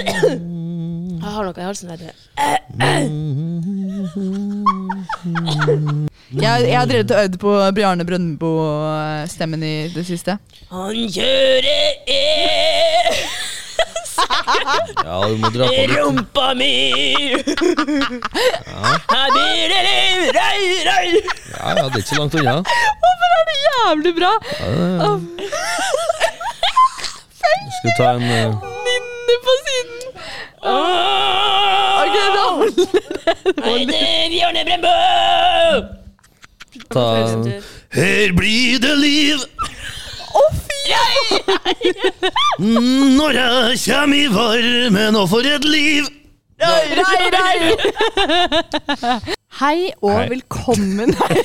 Jeg har noe i halsen. vet du. Jeg, jeg har drevet og øvd på Bjarne Brøndbo-stemmen i det siste. Han kjører i Ja, du må dra på litt. rumpa mi. Her blir det liv, rei, rei. Ja, ja, det er ikke så langt unna. Hvorfor er det jævlig bra? Skal vi ta en eh, Ninni på siden. Ok, da Hei, det er Bjørne Brembo! ta Her blir det liv Mm, når jeg kjem i varmen, og for et liv! Rei, rei. Hei og Hei. velkommen Hei.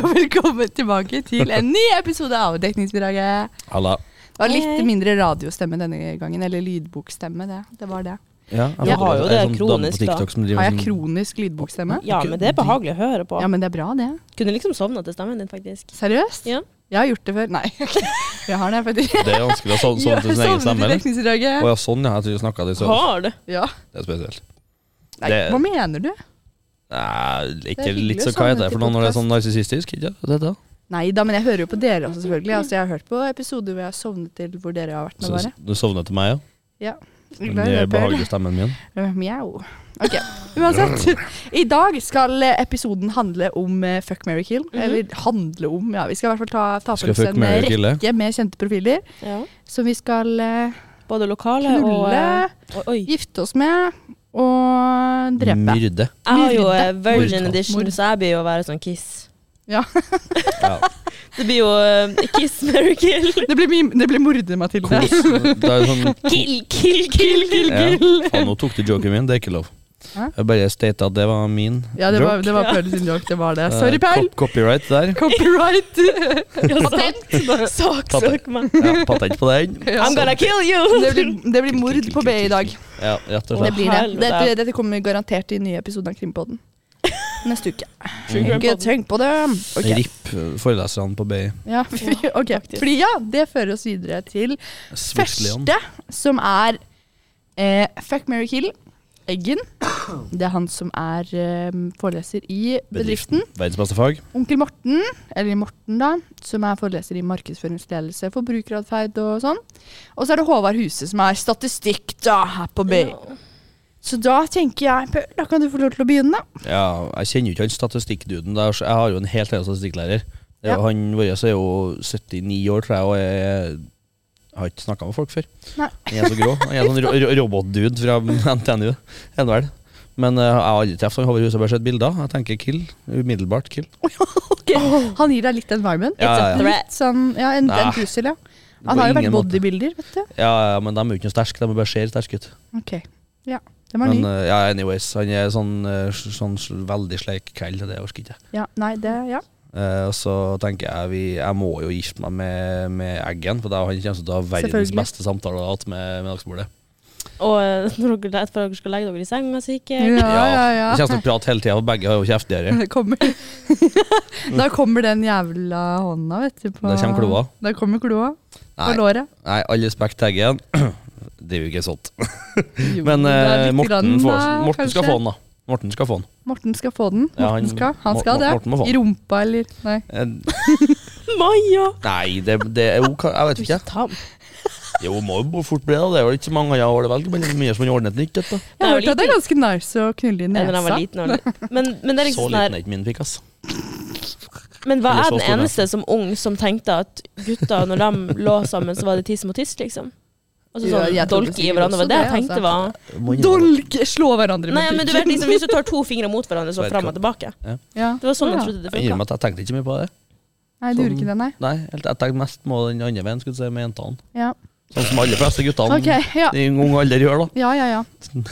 og velkommen tilbake til en ny episode av Dekningsbidraget. Halla. Det var Hei, litt hei. mindre radiostemme denne gangen, eller lydbokstemme. Det, det var det. Ja, Jeg har jo er det sånn kronisk, dame på TikTok da. som driver Har jeg sånn- kronisk lydbokstemme? Ja, men det er behagelig å høre på. Ja, men det er bra, det. Kunne liksom sovna til stemmen din, faktisk. Seriøst? Ja. Jeg har gjort det før. Nei, jeg har det faktisk. Det er vanskelig å sovne sånn til sin egen stemme, eller? Å eller? ja, sånn, ja. Jeg tror jeg snakka det i søvn. Har du? Ja. Det er spesielt. Nei, Det- hva mener du? Nei, ikke Det er hyggelig litt så å hva sovne heter det for til noe når det er podcast. sånn narsissistisk? Ikke det det? Nei da, men jeg hører jo på dere også, selvfølgelig. Altså, jeg har hørt på episoder hvor jeg har sovnet til hvor dere har vært med, Så, bare. du sovner til meg, ja? Ja. Men Sånn Det er Glad i dere. behagelig stemmen min. Øh, Mjau. Ok, uansett. I dag skal eh, episoden handle om eh, Fuck, marry, kill. Mhm. Eller handle om, ja. Vi skal i hvert fall ta, ta for Skal oss fuck, en eh, marry, kille. rekke med kjente profiler Ja. som vi skal eh, Både lokale og, eh, knulle, og Oi. gifte oss med og drepe. Myrde. Jeg har jo eh, Myrde. Virgin Mord. Edition, Mord. så jeg blir jo å være sånn Kiss. Ja. Ja. Det blir jo eh, Kiss, Mary Kill. Det blir, mye- det blir morder, Mathilde. Kos. Det er sånn Kill, kill, kill, kill. ja. Faen, nå tok du joken min. Det er ikke lov. Hæ? Jeg bare statet at det var min Ja, det joke. var, det var Paul sin joke. Det var det. Sorry, Eh, Paul. cop- Copyright der. Copyright. Patent. Saksøk meg. Ja, patent på den. Ja. I'm gonna kill Det you! blir, det blir mord på B i dag. Ja, rett Det og slett. blir det. Helvete. Dette, dette kommer garantert i nye episoder av Krimpodden. Neste uke. Krimpodden. Ikke tenk på det. Ok. RIP eh, foreleserne på BI. Ja, ok. Fordi ja, det fører oss videre til Svitsleon. første, som er eh, Fuck, marry, kill. Eggen. Det er han som er eh, foreleser i bedriften. Verdens beste fag. Onkel Morten, eller Morten da, som er foreleser i markedsføringsledelse, forbrukeratferd og sånn. Og så er det Håvard Huse, som er statistikk da, her på BI. Så da tenker jeg, Paul, da kan du få lov til å begynne. Ja, jeg kjenner jo ikke han statistikkduden. der, så Jeg har jo en helt egen statistikklærer. Det er jo Ja. Han vår er jo 79 år, tror jeg, og jeg har ikke snakka med folk før. Nei. Han er så grå. Han er sånn ro ro robotdude fra NTNU. Er det vel. Men eh, jeg har aldri truffet han Håvard Huse, jeg har bare sett bilder. Jeg tenker kill. Umiddelbart kill. Ok, Han gir deg litt environment. Ja, ja, ja. Litt sånn, ja, en, Nei. en trussel, ja. På Han har jo vært ingen måte. bodybuilder, vet du. Ja, ja, men de er jo ikke noe sterke, de er bare ser sterke ut. Ok, ja. Den var Men ny. eh, ja, anyways, han er sånn, eh, s- sånn s- veldig sleik kveld, og det orker ikke jeg. Ja, nei, det, ja. Eh, og så tenker jeg vi, jeg må jo gifte meg med, med Eggen, for da han kommer til å ha verdens Selvfølgelig. beste samtale jeg har hatt med, med dagsbordet. Og eh, når dere, etter at dere skal legge dere i senga, sikkert. Ja, ja, Vi ja. kommer til å prate hele tida, for begge har jo kjeft i øret. Det kommer. da kommer den jævla hånda, vet du. På, Da kommer kloa. Da kommer kloa på Nei. låret. Nei, all respekt til Eggen. Det er jo ikke sånt. Jo, Men det er eh, lite Morten, grann, får, da, Morten skal kanskje. få den, da. Morten skal få den. Morten skal få den. Ja, Morten han- skal, han Mor- skal Mor- det. Morten må få den. I rumpa, eller Nei. Eh, Maja! nei, det, det er jo hva- Jeg vet Du er ikke. ikke tam. Jo, må jo fort bli det. Det er jo ikke så mange jeg har å velge, men det er mye som har ordnet nytt. Dette. Jeg er har jo hørt at det er ganske nice å knulle i Ja, når jeg var nesa. liten. og- Men, men, det er Så liksom sånn liten her, er ikke min pikk, ass. men hva Eller er så den stor eneste som ung som tenkte at gutta, når de lå sammen, så var det tiss mot tiss, liksom? Altså Ja, jeg sånn trodde dolke i sikkert hverandre. også var Det jeg det, altså. tenkte var Dolk! Slå hverandre Nei, men du vet liksom, Hvis du tar to fingre mot hverandre, så Sverre fram og tilbake. Ja. Det var sånn jeg Ja. trodde det Jeg innrømmer at funka. jeg tenkte ikke mye på det. Nei, du gjorde ikke det, nei. Nei, helt, Jeg tenkte mest på den andre veien, skulle du si, med jentene. Ja. Sånn som alle fleste guttene Ok, ja. i ung alder gjør, da. Ja, ja, ja.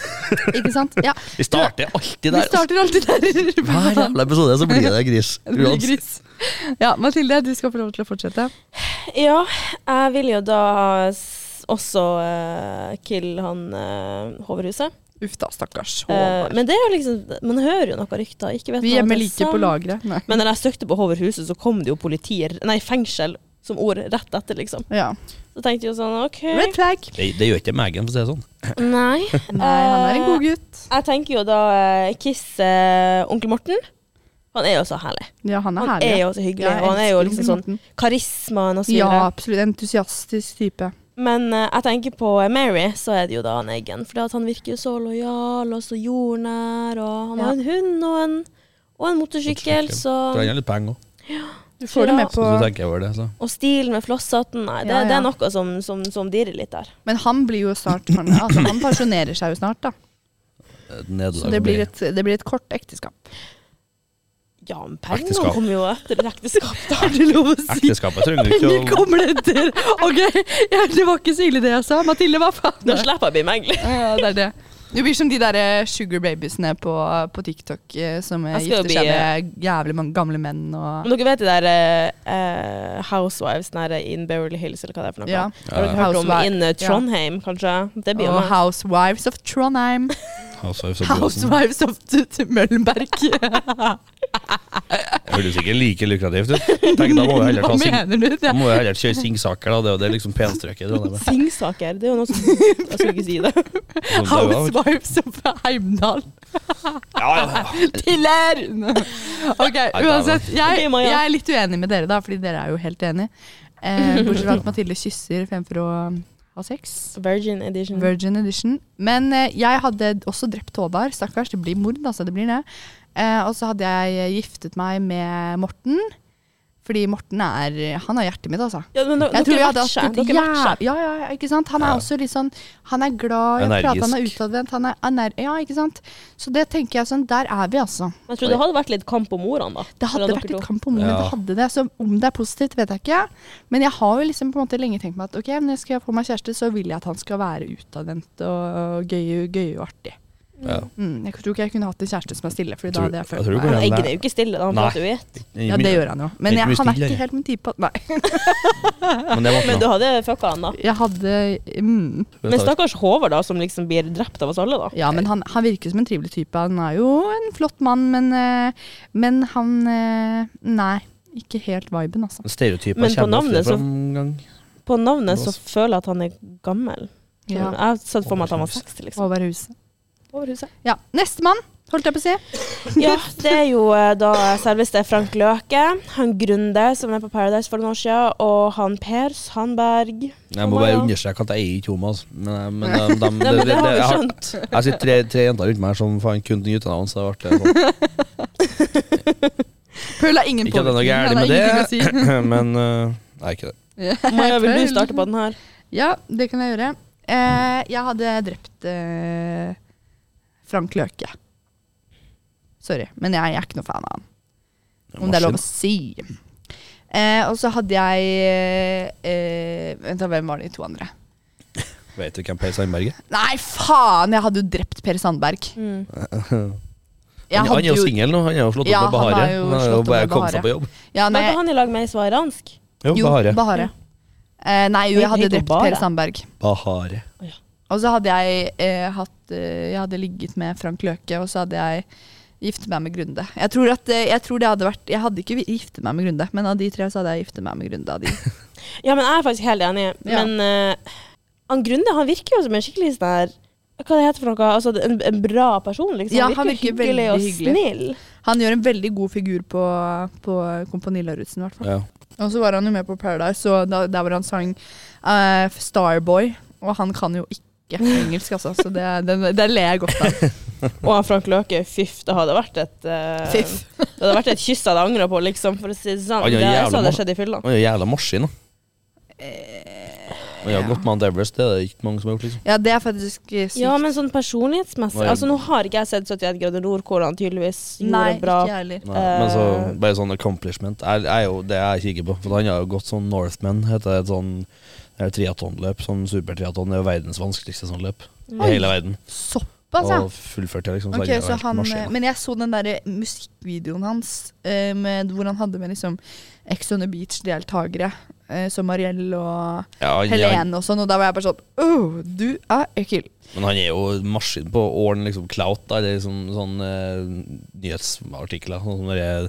Ikke sant? Ja. Vi starter alltid Vi der. ass. starter alltid der. Hver jævla episode så blir det gris. Det blir Uansett. gris. Ja, Mathilde, du skal få lov til å fortsette. Ja, jeg vil jo da s- også eh, kille han uh, Hoverhuset. Uff da, stakkars. Eh, Håvard. men det er jo liksom, man hører jo noen rykter. Ikke vet Vi man at hjemme det er liker på sant. lageret. Nei. Men når jeg søkte på Hoverhuset, så kom det jo politier Nei, fengsel som ord rett etter, liksom. Ja. Så tenkte jeg jo sånn OK. Red flag. Det, det gjør ikke Megan, for å si det sånn. Nei. Nei, han er en god gutt. Jeg tenker jo da eh, Kiss eh, onkel Morten. Han er jo så herlig. Ja, han er Han herlig. er jo så hyggelig, og han er jo liksom sånn karismaen og så Ja, videre. absolutt. Entusiastisk type. Men eh, jeg tenker på eh, Mary, så er det jo da han Eggen. For han virker jo så lojal og så jordnær, og han Ja. har en hund og en, og en Motorsykkel. motorsykkel, så Trenger litt penger òg, Du får det altså. Ja. med så på du tenker over det. Så. Og stilen med flosshatten, nei, det, Ja, ja. det er noe som, som, som dirrer litt der. Men han blir jo snart Han, altså, han pensjonerer seg jo snart, da. Et Så nederlag det blir blir- et, det blir et kort ekteskap. Ja, men pengene Ekteskap. kommer jo etter et ekteskap, da. Er det lov å si? Ekteskapet trenger du Penger ikke å kommer det etter! Ok, ja, det var ikke så ille det jeg sa. Mathilde, hva faen? Da slipper jeg å bli megler. Ja, det er det. Du blir som de der eh, sugar babiesene på, på TikTok eh, som eh, Jeg skal jo gifter seg bli, med jævlig mange gamle menn og Men dere vet det der eh, eh, Housewives nære in Beverly Hills, eller hva det er for noe? ja. Har dere hørt om Housewife- in eh, Trondheim, kanskje? Det blir jo Og meg. Housewives of Trondheim. Housewives of Boston. Housewives of t t Møllenberg. Det høres ikke like lukrativt ut. Tenk, da må vi heller Hva ta sing, mener du? Det da er må vi heller kjøre Singsaker, da. Det er jo det liksom penstrøket i Trondheim. Singsaker, det er jo noe som Jeg skulle ikke si det. Sånn, det var- Housewives of Heimdal. Ja, ja, ja. Tiller! Ok, var- uansett. Jeg, Ok, Maja. jeg er litt uenig med dere, da, fordi dere er jo helt enige. Eh, bortsett fra at Mathilde kysser fremfor å ha sex. Virgin edition. Virgin Edition. Men eh, jeg hadde også drept Håvard. Stakkars, det blir mord, altså. Det blir det. Eh, og så hadde jeg giftet meg med Morten. Fordi Morten er Han er hjertet mitt, altså. Ja, men dere, Jeg tror jeg hadde matcher. hatt et Dere matcher. jæv- ja, ja, ja, ikke sant? Han er Ja. også litt sånn Han er glad i å prate, han er Energisk. utadvendt, han er ener Ja, ikke sant? Så det tenker jeg sånn, der er vi, altså. Men Jeg tror det hadde vært litt kamp om ordene, da. Det hadde Mellom vært dere litt to. kamp om det, Ja. det hadde det. Så om det er positivt, vet jeg ikke. Men jeg har jo liksom på en måte lenge tenkt meg at ok, når jeg skal få meg kjæreste, så vil jeg at han skal være utadvendt og gøy, gøy og artig. ja. Mm, jeg tror ikke jeg kunne hatt en kjæreste som er stille, Fordi Jeg da tror- hadde jeg jeg tror følt du meg kan- Men Eggen er jo ikke stille, da. Han Nei. prater jo i ett. Ja, det gjør han jo. Men Ikke jeg, mye han er stille, ikke helt min type. Nei. Men det var ikke Men noe. du hadde fucka han, da. Jeg hadde mm, Men stakkars Håvard, da, som liksom blir drept av oss alle, da. Ja, men han, han virker som en trivelig type. Han er jo en flott mann, men, eh, men han eh, Nei. Ikke helt viben, altså. Stereotyper Men på kommer ofte navnet så- fram gang. På navnet så Blås. føler jeg at han er gammel. Så Ja. Jeg har sett for meg at han var 60, liksom. Over huset. Over huset. Ja. Nestemann, holdt jeg på å si. Ja, det er jo eh, da selveste Frank Løke. Han Grunde, som er på Paradise for noen år siden, og han Per Sandberg. Jeg må Å, bare ja. understreke at jeg er ikke homo, altså. Men, eh, men, eh, dem- Nei, det- men det- det har jeg vi har- skjønt. Jeg sitter tre, tre jenter rundt meg som faen kun til guttenavn, så det ble sånn. Pøl har ingen Ikke at det er noe påvirkning, gærent han har med det. ingenting å si. Men eh, Nei, ikke det. Maja, vil du starte på den her? Ja, det kan jeg gjøre. Eh, jeg hadde drept eh, Frank Løke. Sorry, men jeg, er ikke noe fan av han. Om det er lov å si. Eh, og så hadde jeg eh, Vent, da, hvem var de to andre? Vet du hvem Per Sandberg er? Nei, faen! Jeg hadde jo drept Per Sandberg. Jeg Han, han hadde er jo singel nå, han er jo slått opp Ja, med Bahare. han har jo Han er slått opp bare med kommet Bahare. seg på jobb. Ja, Var nei, ikke han i lag med ei som var iransk? Jo, jo, Bahare. Bahare. Eh, nei, jo, jeg hadde Heter hun drept Per Bahare? Sandberg. Bahare. Og så hadde jeg eh, hatt eh, Jeg hadde ligget med Frank Løke, og så hadde jeg giftet meg med Grunde. Jeg tror, at, eh, jeg tror det hadde vært Jeg hadde ikke vi- giftet meg med Grunde, men av de tre så hadde jeg giftet meg med Grunde. Av de. Ja, men jeg er faktisk helt enig. Ja. Men eh, han Grunde han virker jo som en skikkelig sånn her Hva det heter for noe? Altså, en, en bra person, liksom. Ja, han virker hyggelig veldig og hyggelig. snill. Han gjør en veldig god figur på, på Kompani Lauritzen, i hvert fall. Ja. Og så var han jo med på Paradise, og da, der hvor han sang eh, Starboy, og han kan jo ikke engelsk, altså, så det, den- den ler jeg godt av. Og han Frank Løke, fyff, det hadde vært et eh, Fiff. Det hadde vært et kyss jeg hadde angra på, liksom, for å si det sånn. Han er Det jævla så hadde mann. skjedd i fylla. Han er jo jævla maskin, da. Han har ja. gått Mount Everest, det er det ikke mange som har gjort, liksom. Eh, Ja, det er faktisk sykt. Ja, men sånn personlighetsmessig Nei. Altså, nå har ikke jeg sett 71 grader nord, hvor han tydeligvis gjorde Nei, bra ikke jeg heller. Nei, men så Eh. bare sånn accomplishment er, er jo det jeg kikker på. For han har jo gått sånn Northman, heter det et sånn det er et triatlonløp. Sånn supertriatlon. Det er jo verdens vanskeligste sånn løp i hele verden. Såpass. Såpass, ja. Og fullførte liksom. Ok, jeg så helt han, marsjer, da. men jeg så den der eh, musikkvideoen hans eh, med, hvor han hadde med liksom Ex on the Beach-deltakere. eh, Som Mariell og ja, han- han, Helene og sånn. Og da var jeg bare sånn Åh, du er ekkel. men han er jo maskin på å ordne liksom clout, da, eller liksom, sånn eh, nyhetsartikler. Sånn som det er,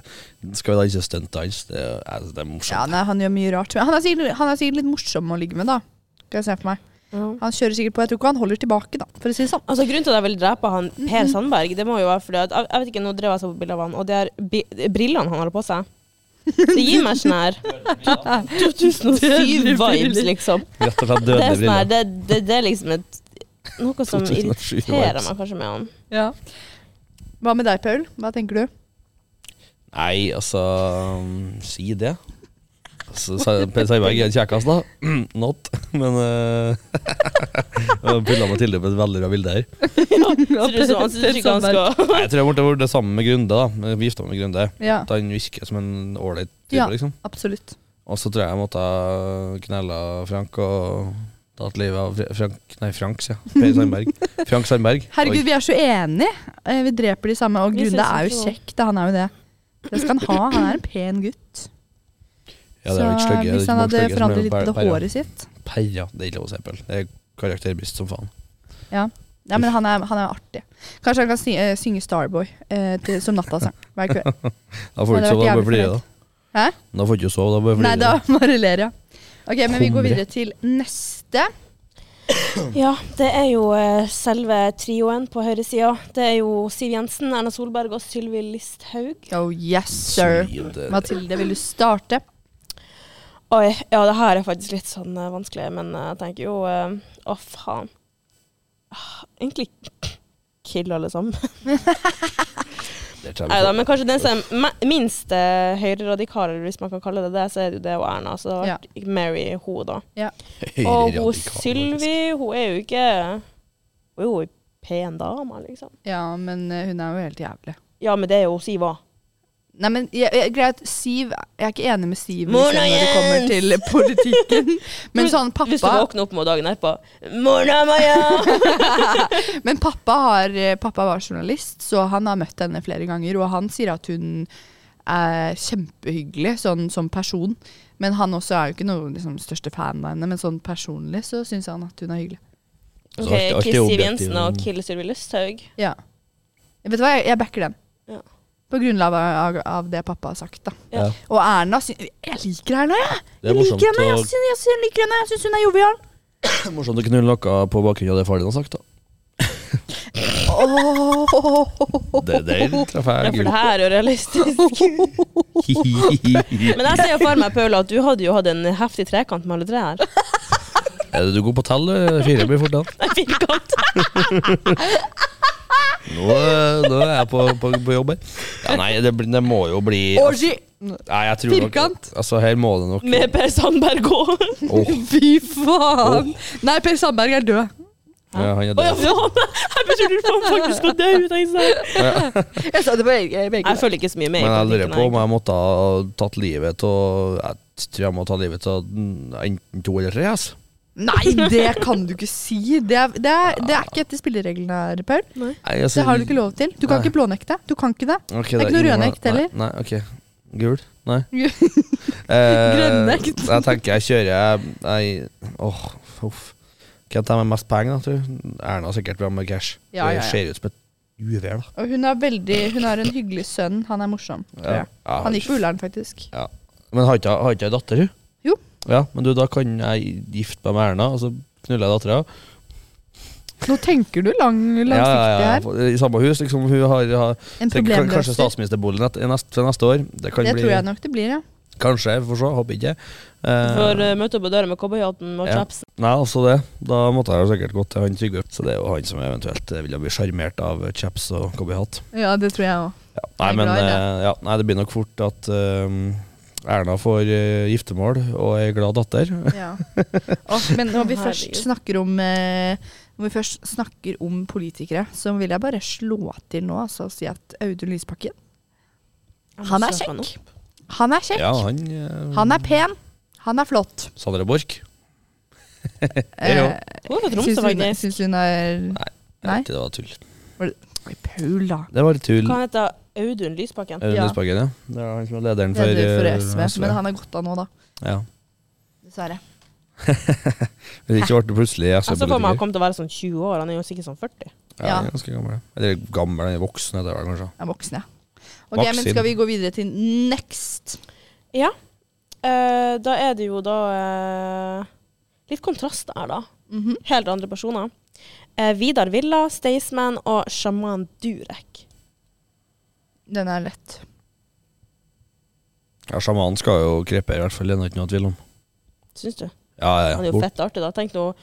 Skal vi da ikke stunte hans? Det, er- jeg synes det er Ja, morsomt. nei, Han gjør mye rart. Men han er, sikkert, han er sikkert litt morsom å ligge med, da. Skal jeg se for meg. Ja. Han kjører sikkert på. Jeg tror ikke han holder tilbake, da. For å si det sånn. Altså, grunnen til at jeg ville drepe han Per Sandberg, det må jo være fordi at Jeg jeg vet ikke, nå drev jeg så på bilder av han, og det er bi- brillene han har på seg. Det gir meg sånn her 2007-vibes, liksom. Rett og slett Det er, dødelige sånn her, briller. det, det, det er liksom et Noe som 2007 irriterer vibes. meg kanskje med han. Ja. Hva med deg, Paul? Hva tenker du? Nei, altså Si det. Altså, sa- Per Sandberg er en kjekkas, da. Not. Men eh, Jeg Pulla Mathilde på et veldig bra bilde her. Ser ut som han synes ikke han skal Nei, jeg tror jeg ble vært sammen med Grunde. da Vi gifta meg med Grunde. Ja, At han virker som en ålreit type, Ja. liksom. absolutt. Og så tror jeg jeg måtte ha knella Frank og tatt livet av Fr- Frank Nei, Frank, sier jeg. Per Sandberg. Frank Sandberg. Herregud, vi er så enige. Eh, Vi dreper de samme. Og Vi Grunde synes er jo ikke det. kjekk, da. Han er jo det. Det skal han ha. Han er en pen gutt. Oi. Ja, det er jo ikke så eh, stygge- det er hvis ikke han mange hadde stygge som er forandret litt på det per- perra. håret sitt Perra, det er ikke lov å si, Pell. Det er karakterbrist som faen. Ja, men han er, han er artig. Kanskje han kan sy- eh, synge Starboy eh, til, som nattasang hver kveld. Da får du Hadde ikke sove, da vært bør du bli jævlig da. Hæ? Da får du ikke sove, da bør du bli Nei, da bare ler jeg. Ok, men vi går Humre. videre til neste. Ja, det er jo eh, selve trioen på høyresida. Det er jo Siv Jensen, Erna Solberg og Sylvi Listhaug. Oh yes, sir. eh, Mathilde, vil du starte? Oi, ja, det her er faktisk litt sånn eh, vanskelig, men eh, jeg tenker jo eh, Å, faen. Ah, Egentlig kill alle sammen. Nei da, men kanskje den som er me- minst eh, høyreradikal, eller hvis man kan kalle det det, så er det jo det og Erna. Så Ja. Mary hun, da. Og hun Sylvi, hun er jo ikke Hun er jo en pen dame, liksom. Ja, men eh, hun er jo helt jævlig. Ja, men det er jo Siv òg. Nei, men jeg, jeg, greit, Siv Jeg er ikke enig med Siv Mona liksom, når det kommer Jens! til politikken. Men sånn Hvis du pappa våkner opp med dagen etterpå Mona Maja! Men pappa, har, eh, pappa var journalist, så han har møtt henne flere ganger. Og han sier at hun er kjempehyggelig sånn, som person. Men han også er jo ikke noe liksom, største fan av henne, men sånn personlig så syns han at hun er hyggelig. Så OK, alt- alt er kiss Siv objektiv. Jensen og kill Sylvi Lysthaug. Ja. Vet du hva, jeg, jeg backer den. Ja. På grunnlag av, av det pappa har sagt, da. Ja. Og Erna sy Jeg liker Erna, jeg! Det er Jeg liker henne, jeg morsomt syns jeg syns- liker henne, jeg syns hun er jovial. å, morsomt å knulle noe på bakgrunn av det faren din har sagt, da. Åh. Det, det traff Ja, jeg for gull. det her er jo realistisk. Hihihi. Men jeg ser jo for meg, Paula, at du hadde jo hatt en heftig trekant med alle tre her. Er det du god på tall? eller? Fire blir fort den. Nei, firkant. Nå, eh, nå er jeg på, på, på jobb her. Ja, nei, det, blir- det må jo bli Orgy! Nei, jeg tror nok- Firkant. Altså, her må det nok Med Per Sandberg òg. Åh, Fy faen! Nei, Per Sandberg er død. ja, han er Å ja, død. faen! Jeg begynte å lure på om han faktisk var død. tenkte Jeg Jeg sa det på begge. begge. Jeg følger ikke så mye med. i Men jeg lurer politikken, på om jeg måtte ha tatt livet av Jeg tror jeg må ta livet av enten to eller tre. Altså. Nei, det kan du ikke si. Det er, det er, det er ikke etter spillereglene her, Paul. Nei, altså, Det har du ikke lov til. Du kan Nei. ikke blånekte. Du kan ikke det. Ok, er ikke noe ingen- rødnekt heller. Nei, nei, ok. Gul? Nei. Gul. Eh, Grønnekt. Jeg tenker jeg kjører jeg- jeg- Åh, uff. Hvem tar med mest penger, da, tror du? Erna har sikkert bra med cash. Ja, ja, ja. Det ser ut som et uvær, da. Og hun, er veldig, hun har en hyggelig sønn. Han er morsom. Tror jeg. Ja. Han gikk på Ullern, faktisk. Men har ikke har ikke jeg datter, hun? Jo. Ja, men du, da kan jeg gifte meg med Erna, og så knuller jeg dattera. Nå tenker du lang, langsiktig her. I samme hus, liksom. Hun har, har En tenker, kan- problemløser. Kanskje statsministerboligen et- i neste- til neste år. Det kan Det bli tror jeg nok det blir, ja. Kanskje, vi får se. Håper ikke. jeg. Eh, For uh, møte opp på døra med cowboyhatten og Ja. chapsen. Nei, altså det. Da måtte jeg jo sikkert gått til han Trygve. Så det er jo han som eventuelt eh, ville bli sjarmert av eh, chaps og cowboyhatt. Ja, det tror jeg òg. Ja. Nei, Jeg er men glad i det. eh, ja, nei, det blir nok fort at eh, Erna får eh, giftermål og ei glad datter. Ja. Og- Men når vi først Herregud. snakker om eh, når vi først snakker om politikere, så vil jeg bare slå til nå altså, og si at Audun Lysbakken, Jeg må han er søke han kjekk. Han er kjekk. Ja, han eh, Han er pen. Han er flott. Sandra Borch. Eh, Jo, jo. Hun er fra syns Tromsø, hun, faktisk. syns hun er Jeg Nei. vet ikke, det var tull. Var det Oi, Paul, da. Det var litt tull. Hva heter Audun Lysbakken? Audun Ja. Lysbakken, ja. Det var han som var lederen for, Leder for eh, SV, men han er gått av nå, da. Ja. Dessverre. Men det ikke ble det plutselig Jeg så for meg han SV-politiker. kom til å være sånn 20 år, han er jo sikkert sånn 40. Ja, han er ganske gammel. ja. Eller gammel, han er voksen heter det vel kanskje. Jeg er voksen, jeg. Ok, men Vaksin. skal vi gå videre til next? Ja. Eh, da er det jo da eh, litt kontrast her, da. Mhm. Helt andre personer. Eh, Vidar Villa, Staysman og sjaman Durek. Den er lett. Ja, Sjamanen skal jo krepe, i hvert fall. Det er det ikke noe tvil om. Syns du? Ja, ja, Han ja. er jo Bort. fett artig, da. Tenk nå å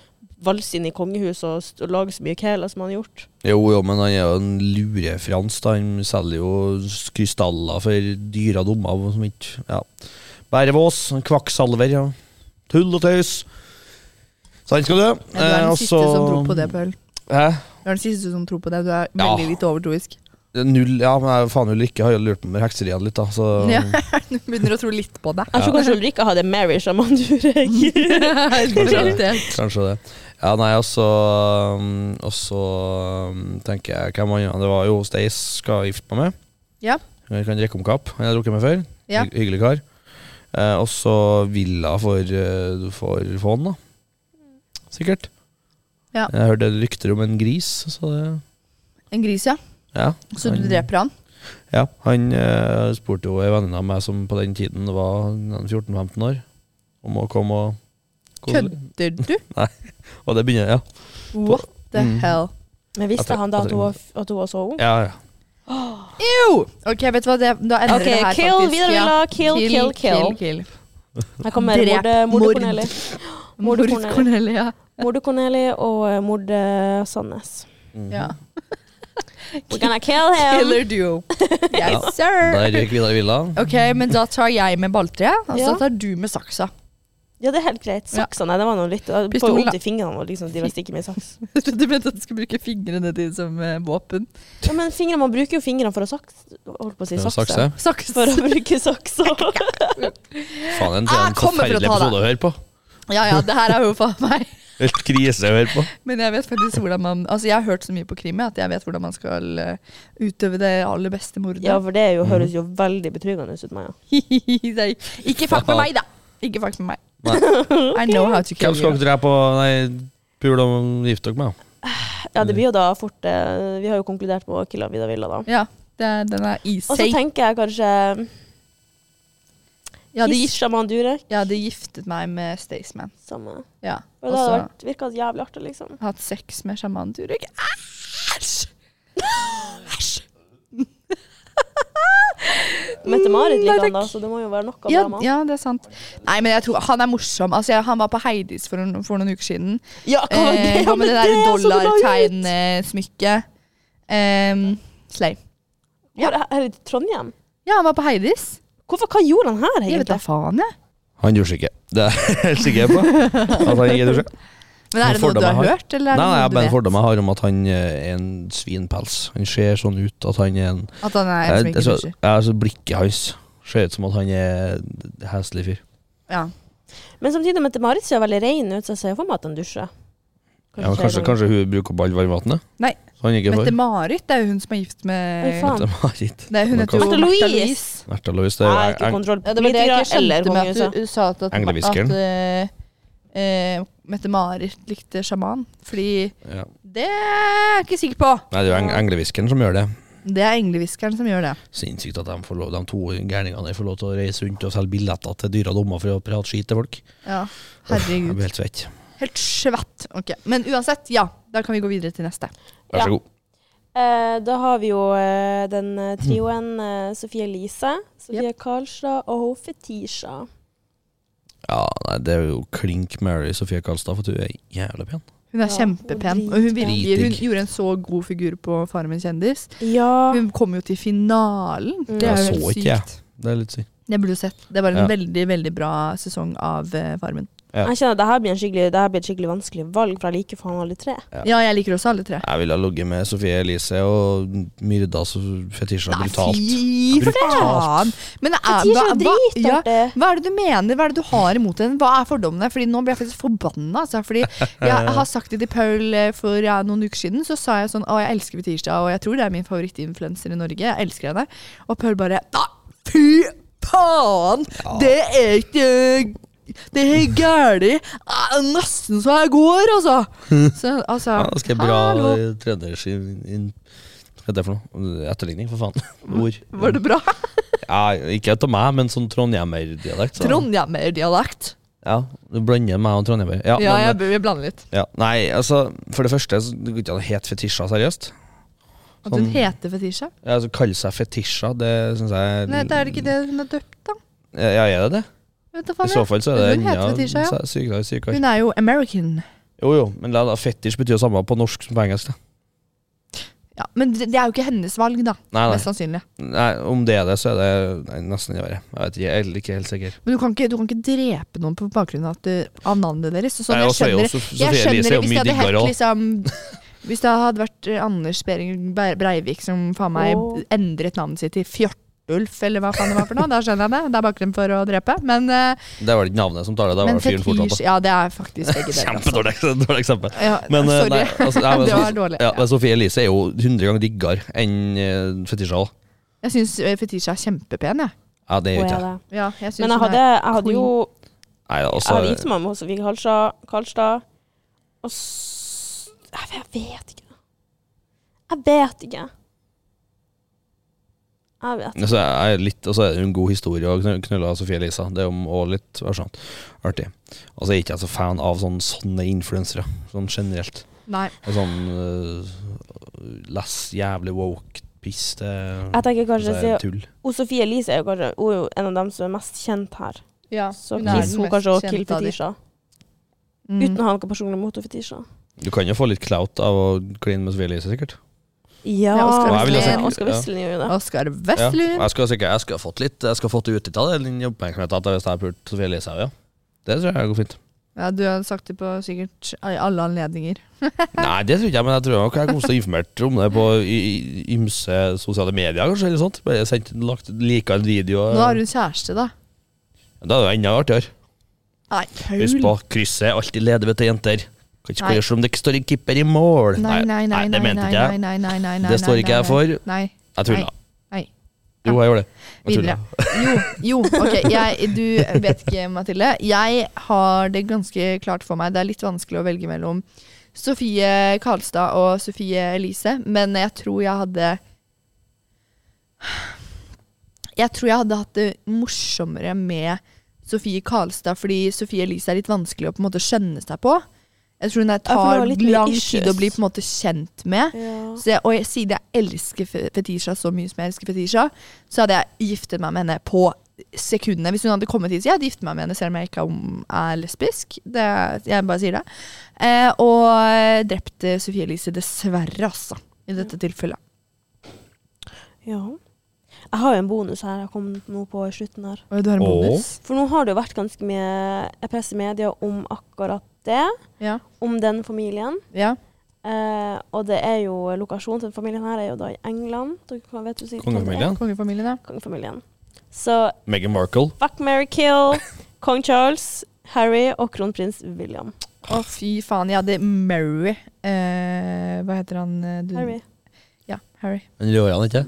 valse inn i kongehuset og, st- og lage så mye kæler som han har gjort. Jo, jo, men han er jo en lurefrans. da. Han selger jo s- krystaller for dyre dommer og som ikke Ja. Bærevås, en kvakksalver, ja. Tull og tøys. Så han skal du. Ja, du er altså- den siste som tror på det, Pøl. Hæ? Du er den siste som tror på det. Du er Ja. veldig litt overtroisk. Null, ja, men jeg er faen Ulrikke har jo lurt meg med hekseriet litt, da. Så Ja, du begynner å tro litt på det. Jeg tror kanskje Ulrikka hadde Mary sjaman Durek. Garantert. kanskje det. Ja, nei, altså um, Og så um, tenker jeg hvem andre Det var jo Stace skal gifte meg med. Ja. Jeg kan drikke om kapp. Jeg har drukket meg før. Ja. Hy hyggelig kar. Eh, og så Villa for, eh, for fåen, da. Sikkert. Ja. Jeg hørte rykter om en gris, så det En gris, ja. Ja. Så du dreper han? Ja, han eh, spurte jo ei venninne av meg som på den tiden var 14-15 år, om å komme og Kødder du? Og det begynner Ja, What the Mm. hell? Men Jeg visste tror- han da jeg at hun, tror- var f- at hun var så ung? ja. ja. Jo! Ok, vet du hva, det, da endrer OK, det her kill faktisk. Vidar Ja. Villa, kill, kill, kill. kill. Her kommer Drep, morde, morde mord. Corneli. Mord Mord Cornelia. Cornelia. Morde Corneli og eh, morde Sandnes. Mhm. Ja. We're gonna kill him! Killer duo. Yes, Ja. sir. Der gikk Vidar Villa. Ok, men da tar jeg med balltreet, og så Ja. tar du med saksa. Ja, det er helt greit. Saksene, det var noe litt Jeg får Pistol, da. vondt i fingrene og liksom, de vil stikke med saks. Jeg trodde du mente at du skulle bruke fingrene dine som eh, våpen. Ja, men fingrene, man bruker jo fingrene for å saks... Holdt på å si Ja, sakse. Sakse. For Saksa. å bruke saksa. Faen, det er Ah, kommer en for å forferdelig ta episode å høre på. Ja ja, det her er jo faen meg Helt krise å høre på. Men jeg vet faktisk hvordan man Altså, jeg har hørt så mye på krim jeg, at jeg vet hvordan man skal eh, utøve det aller beste mordet. Ja, for det er jo, Mhm. høres jo veldig betryggende ut, Maja. Nei, Ikke fuck med meg, da! Ikke fuck med meg. Nei. I know how to Hvem kill skal you. dere drepe og nei, pule og gifte dere med? da? Ja, det blir jo da fort eh, Vi har jo konkludert på Killa Vida Villa, da. Ja, det, den er Og så easy. tenker jeg kanskje Jeg hadde, Kiss gif Shaman Durek. jeg hadde giftet meg med Staysman. Samme. Ja. Og Og det så hadde vært, virka jævlig artig, liksom. hatt sex med sjaman Durek. Æsj! Æsj! Mette-Marit Mm, Nei, liker han, takk. da, så det må jo være noe Ja, drama. ja, det er sant. Nei, men jeg tror han er morsom. Altså, jeg, han var på Heidis for, noen- for noen uker siden. Ja, hva var Eh, hva med det der som du la ut? dollartegnsmykket? Um, Slay. Hvor er- Er det i Trondheim? Ja, han var på Heidis. Hvorfor, hva gjorde han her, Jeg vet da egentlig? faen, jeg. Han dusjer ikke. Det er jeg helt sikker på. At han ikke dusjer. Men Noen er det noe du fordommer har jeg har. hørt, eller er det Nei, nei, noe jeg du bare en vet? fordom jeg har om at han eh, er en svinpels. Han ser sånn ut at han er en At han er en som Jeg- ikke jeg så- dusjer. Ja, altså Blikket hans ser ut som at han er en heslig fyr. Ja. Men samtidig, Mette-Marit ser veldig ren ut, så jeg ser for meg at han dusjer. Ja, men kanskje, kanskje hun bruker opp alt varmvannet? Nei. Så han ikke får. Mette-Marit det er jo hun som er gift Oi, med faen. Mette-Marit. Nei, hun heter jo Mette Mette Louise. Louise. Märtha Louise, det Jeg har er ikke eng- kontroll på Ja, det var det jeg ikke politikere eller skjønte med at kongehuset. du- du sa at, at, Englehviskeren. at eh, eh, Mette-Marit likte sjaman. Fordi ja. det er jeg ikke sikker på. Nei, det er jo eng englehviskeren som gjør det. Det er englehviskeren som gjør det. Sinnssykt at de, får lov, de to gærningene der får lov til å reise rundt og selge billetter til dyre dommer for å prate skit til folk. Ja. Jeg Herregud. blir helt svett. Helt svett. Ok, Men uansett, ja. Da kan vi gå videre til neste. Vær så Ja. god. Eh, da har vi jo eh, den eh, Mm. trioen eh, Sofie Elise, Sofie Karlstad og hun Fetisha. Ja, nei, det er jo klink Mary Sofie Karlstad, for at hun er jævlig pen. Hun er Ja, kjempepen. hun er Og hun, virker, hun Dritdigg. gjorde en så god figur på Farmen kjendis. Ja. Hun kom jo til finalen. Mm. Det er jo Jeg så helt ikke, jeg. sykt. Det er litt sykt. Det burde du sett. Det var en Ja. veldig veldig bra sesong av eh, Farmen. Ja. Jeg kjenner at det her blir en skikkelig- det her blir et skikkelig vanskelig valg, for jeg liker faen alle tre. Ja. Ja, jeg liker også alle tre. Jeg ville ha ligget med Sofie Elise og myrda fetisja Nei, brutalt. fy for faen! Men det er, Fetisj hva, er hva, ja, dritartig. hva er det du mener? Hva er det du har imot henne? Hva er fordommene? Fordi nå blir jeg faktisk forbanna. Altså, fordi jeg har sagt det til Paul eh, for ja, noen uker siden. Så sa jeg sånn Å, jeg elsker Fetisha, og jeg tror det er min favorittinfluenser i Norge. Jeg elsker henne. Og Paul bare Nei, fy faen! Det er ikke det er gærlig. Ah, Nesten så jeg går, altså. Så, altså Ja, ganske bra hallo. eh, treners in- in- Hva heter det for noe? Etterligning, for faen. Ord. Var det bra? Ja, ikke av meg, men sånn trondhjemmerdialekt. så- Trondhjemmerdialekt. Ja, du blander meg og trondhjemmer. Ja, Ja, men- jeg, jeg blander litt. ja. Nei, altså, for det første, så det går ikke an å hete fetisja seriøst. At hun Sånn- heter Fetisha? Ja, altså, Kalle seg fetisja, det syns jeg Nei, det er det ikke det hun er døpt, da. Ja, ja, er det det? Jeg Vet da I faen, så jeg. fall så er det Hun heter fetisja, ja. så er det sykere, sykere. Hun er jo American. Jo, jo, men la, da, fetisj betyr jo samme på norsk som på engelsk. Da. Ja, men det det er jo ikke hennes valg, da. Nei, nei. Mest sannsynlig. nei, om det er det, så er det nei, nesten det verre. Jeg vet ikke, jeg er ikke helt sikker. Men du kan ikke, du kan ikke drepe noen på bakgrunn av, at det- av navnet deres. Så sånn, Nei, jeg også er jo skjønner, Sof- jeg Sophie Elise skjønner er jo det hvis mye det hadde hett diggere også. liksom Hvis det hadde vært eh, Anders Behring Bre- Breivik som faen meg Åh. endret navnet sitt til Fjørtulf, eller hva faen det var for noe, da skjønner jeg det. Det er bakgrunn for å drepe. Men, eh, Det er vel ikke navnet som tar det, det er men vel fyren fortsatt. fetisj da. Ja, det er faktisk begge deler. altså. Kjempedårlig dårlig eksempel. Ja, Men, eh, sorry. nei, altså, ja, men det var så- dårlig. Ja, men Sofie Elise er jo 100 ganger diggere enn eh, fetisja. da. Jeg syns Fetisha er kjempepen, jeg. Ja, det er Å, jo ja, ikke det. det. Ja, jeg synes Men jeg hun hadde, er- jeg hadde jo Nei, Jeg hadde altså, gitt meg med hos Vig Halstad, Karlstad, og s jeg, vet- jeg vet ikke. Jeg vet ikke. Jeg vet ikke. så er jeg litt, og så er det jo en god historie å knu- knulle av Sofie Elise. Det er jo også litt det er sånn, artig. Og så er ikke jeg så fan av sånne, sånne influensere, sånn generelt. Nei. Det er Sånn eh, less jævlig woke piss, det, Jeg tenker kanskje det å si er tull. Og Sofie Elise er jo kanskje hun er jo en av dem som er mest kjent her. Ja, Så hun er kiss den hun mest kanskje også kjente til av de. Fetisha. Uten Mm. å ha noe personlig mot Fetisha. Du kan jo få litt clout av å kline med Sofie Elise, sikkert. Ja, Ja, Oscar Oscar Og jeg ville Westlin sagt- Oscar ja. Westlin gjør jo det. Oskar Ja, og Westlund. jeg skulle sikkert jeg skulle ha fått litt Jeg skulle ha fått ut av det den oppmerksomheten at hvis jeg hadde pult Sofie Elise òg, ja. Det tror jeg går fint. Ja, du har sagt det på sikkert i alle anledninger. Nei, det tror ikke jeg, men jeg tror nok jeg kom til å informert om det på i- i- ymse sosiale medier, kanskje, eller sånt. Bare sendt, lagt, lika en video. Nå har hun kjæreste, da. Da er det jo enda artigere. Nei, Husk Paul. på, krysset er alltid ledig, vet du, jenter. Kan ikke Nei. klare som det ikke står en keeper i mål. Nei, nei, nei, nei, det nei, mente nei, ikke jeg. nei, nei, nei, nei, Det står nei, ikke jeg nei, for. Nei, Jeg tulla. nei. Jo, jeg gjorde det. Jeg Videre. tulla. Jo, jo, ok. Jeg, du vet ikke, Mathilde. Jeg har det ganske klart for meg. Det er litt vanskelig å velge mellom Sofie Karlstad og Sofie Elise, men jeg tror jeg hadde Jeg tror jeg hadde hatt det morsommere med Sofie Karlstad, fordi Sofie Elise er litt vanskelig å på en måte skjønne seg på. Jeg tror hun er, Ja, for hun tar har litt mye lang issues. tid å bli på en måte kjent med. Ja. Så jeg, og jeg, siden jeg elsker Fe- Fetisha så mye som jeg elsker Fetisha, så hadde jeg giftet meg med henne på sekundene. Hvis hun hadde kommet hit, så jeg hadde giftet meg med henne selv om jeg ikke om- er lesbisk. Det, jeg bare sier det. Eh, og drept eh, Sophie Elise, dessverre, altså. I dette tilfellet. ja. Jeg har jo en bonus her jeg kom nå på i slutten her. Og du har en Åh. bonus? For nå har det jo vært ganske mye eh, press i media om akkurat det. Ja. Om den familien. ja. Eh, og det er jo lokasjonen til den familien her er jo da i England. Dere kan- vet jo sikkert hva det er. Kongefamilien. Kongefamilien, ja. Kongefamilien. Så Meghan Markle. fuck, marry, kill kong Charles, Harry og kronprins William. Å, fy faen. Jeg hadde Mary eh, Hva heter han? eh, Mm. Du? Harry. Ja, Harry. Den rører han ikke.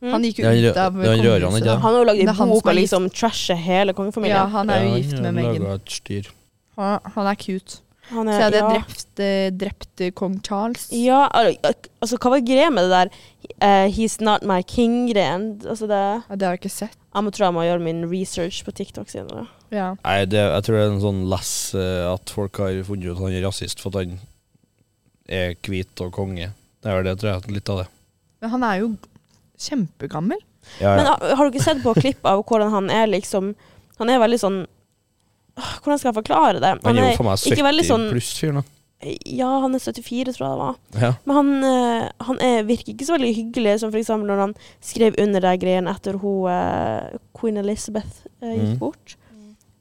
Mm. Han gikk jo Ja, han rø- ut av det er han rører han ikke, da. Han har jo lagd Det er ei han bok som er og liksom trasher hele Ja, kongefamilien. han er jo gift med Meghan. Lager et styr. Han, han er cute. Han Så er, jeg hadde ja. drept, eh, drept eh, kong Charles. Ja, al- altså hva var greia med det der eh, He's not my king-greien? Altså det Ja, Det har jeg ikke sett. Jeg må tro jeg må gjøre min research på TikTok senere. Ja. Nei, det, jeg tror det er en sånn less eh, at folk har funnet ut at han er rasist for at han er hvit og konge. Det er vel det, tror jeg. Litt av det. Men han er jo kjempegammel. Ja, Men har, har dere sett på klipp av hvordan han er liksom Han er veldig sånn Åh, Hvordan skal jeg forklare det? han er jo for meg ikke 70 veldig sånn- pluss fyr nå. Ja, han er 74, tror jeg det var. Ja. Men han, eh, han er, virker ikke så veldig hyggelig, som for eksempel når han skrev under de greiene etter hun eh, Queen Elizabeth eh, gikk Mm. bort.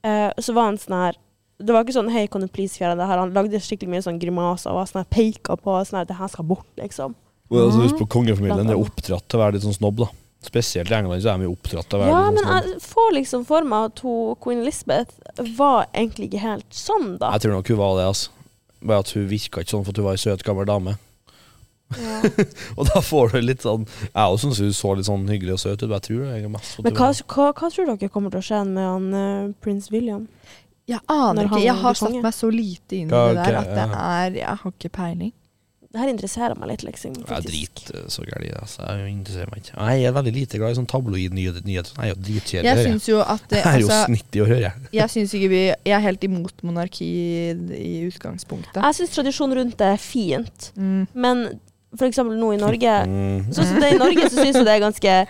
Eh, så var han sånn her Det var ikke sånn 'hei, kan du please fjerne det her'? Han lagde skikkelig mye sånn grimaser og var sånn her peka på og sånn her 'det her skal bort', liksom. Og altså, husk på Kongefamilien Blant de er annet. oppdratt til å være litt sånn snobb. da Spesielt i England så er de jo oppdratt til å være Ja, litt men sånn snobb. Jeg, jeg får liksom for meg at hun, queen Elizabeth var egentlig ikke helt sånn, da. tror nok hun var det. altså Bare at hun virka ikke sånn for at hun var ei søt, gammel dame. Ja. Og da får du litt sånn Jeg også syns hun så litt sånn hyggelig og søt ut, men jeg tror det er mest for at Men hun hva, var- hva, hva tror dere kommer til å skje med han eh, prins William? Jeg Når aner ikke. han Jeg har blir satt konge. meg så lite inn i Ja, det der ok, at det ja. er Jeg har ikke peiling. Det her interesserer meg litt, liksom. Jeg er faktisk. drit eh, så gæren i det. Altså. Jeg interesserer meg ikke. Jeg er veldig lite glad i sånn tabloid-nyheter. Jeg er jo dritkjedelig. Jeg hører Jeg syns jo at det, Jeg er jo altså, snittig å høre. jeg. Jeg syns ikke vi Jeg er helt imot monarki i, i utgangspunktet. Jeg syns tradisjon rundt det er fint, Mm. men for eksempel nå i Norge Mm. Sånn som det er i Norge, så syns jeg det er ganske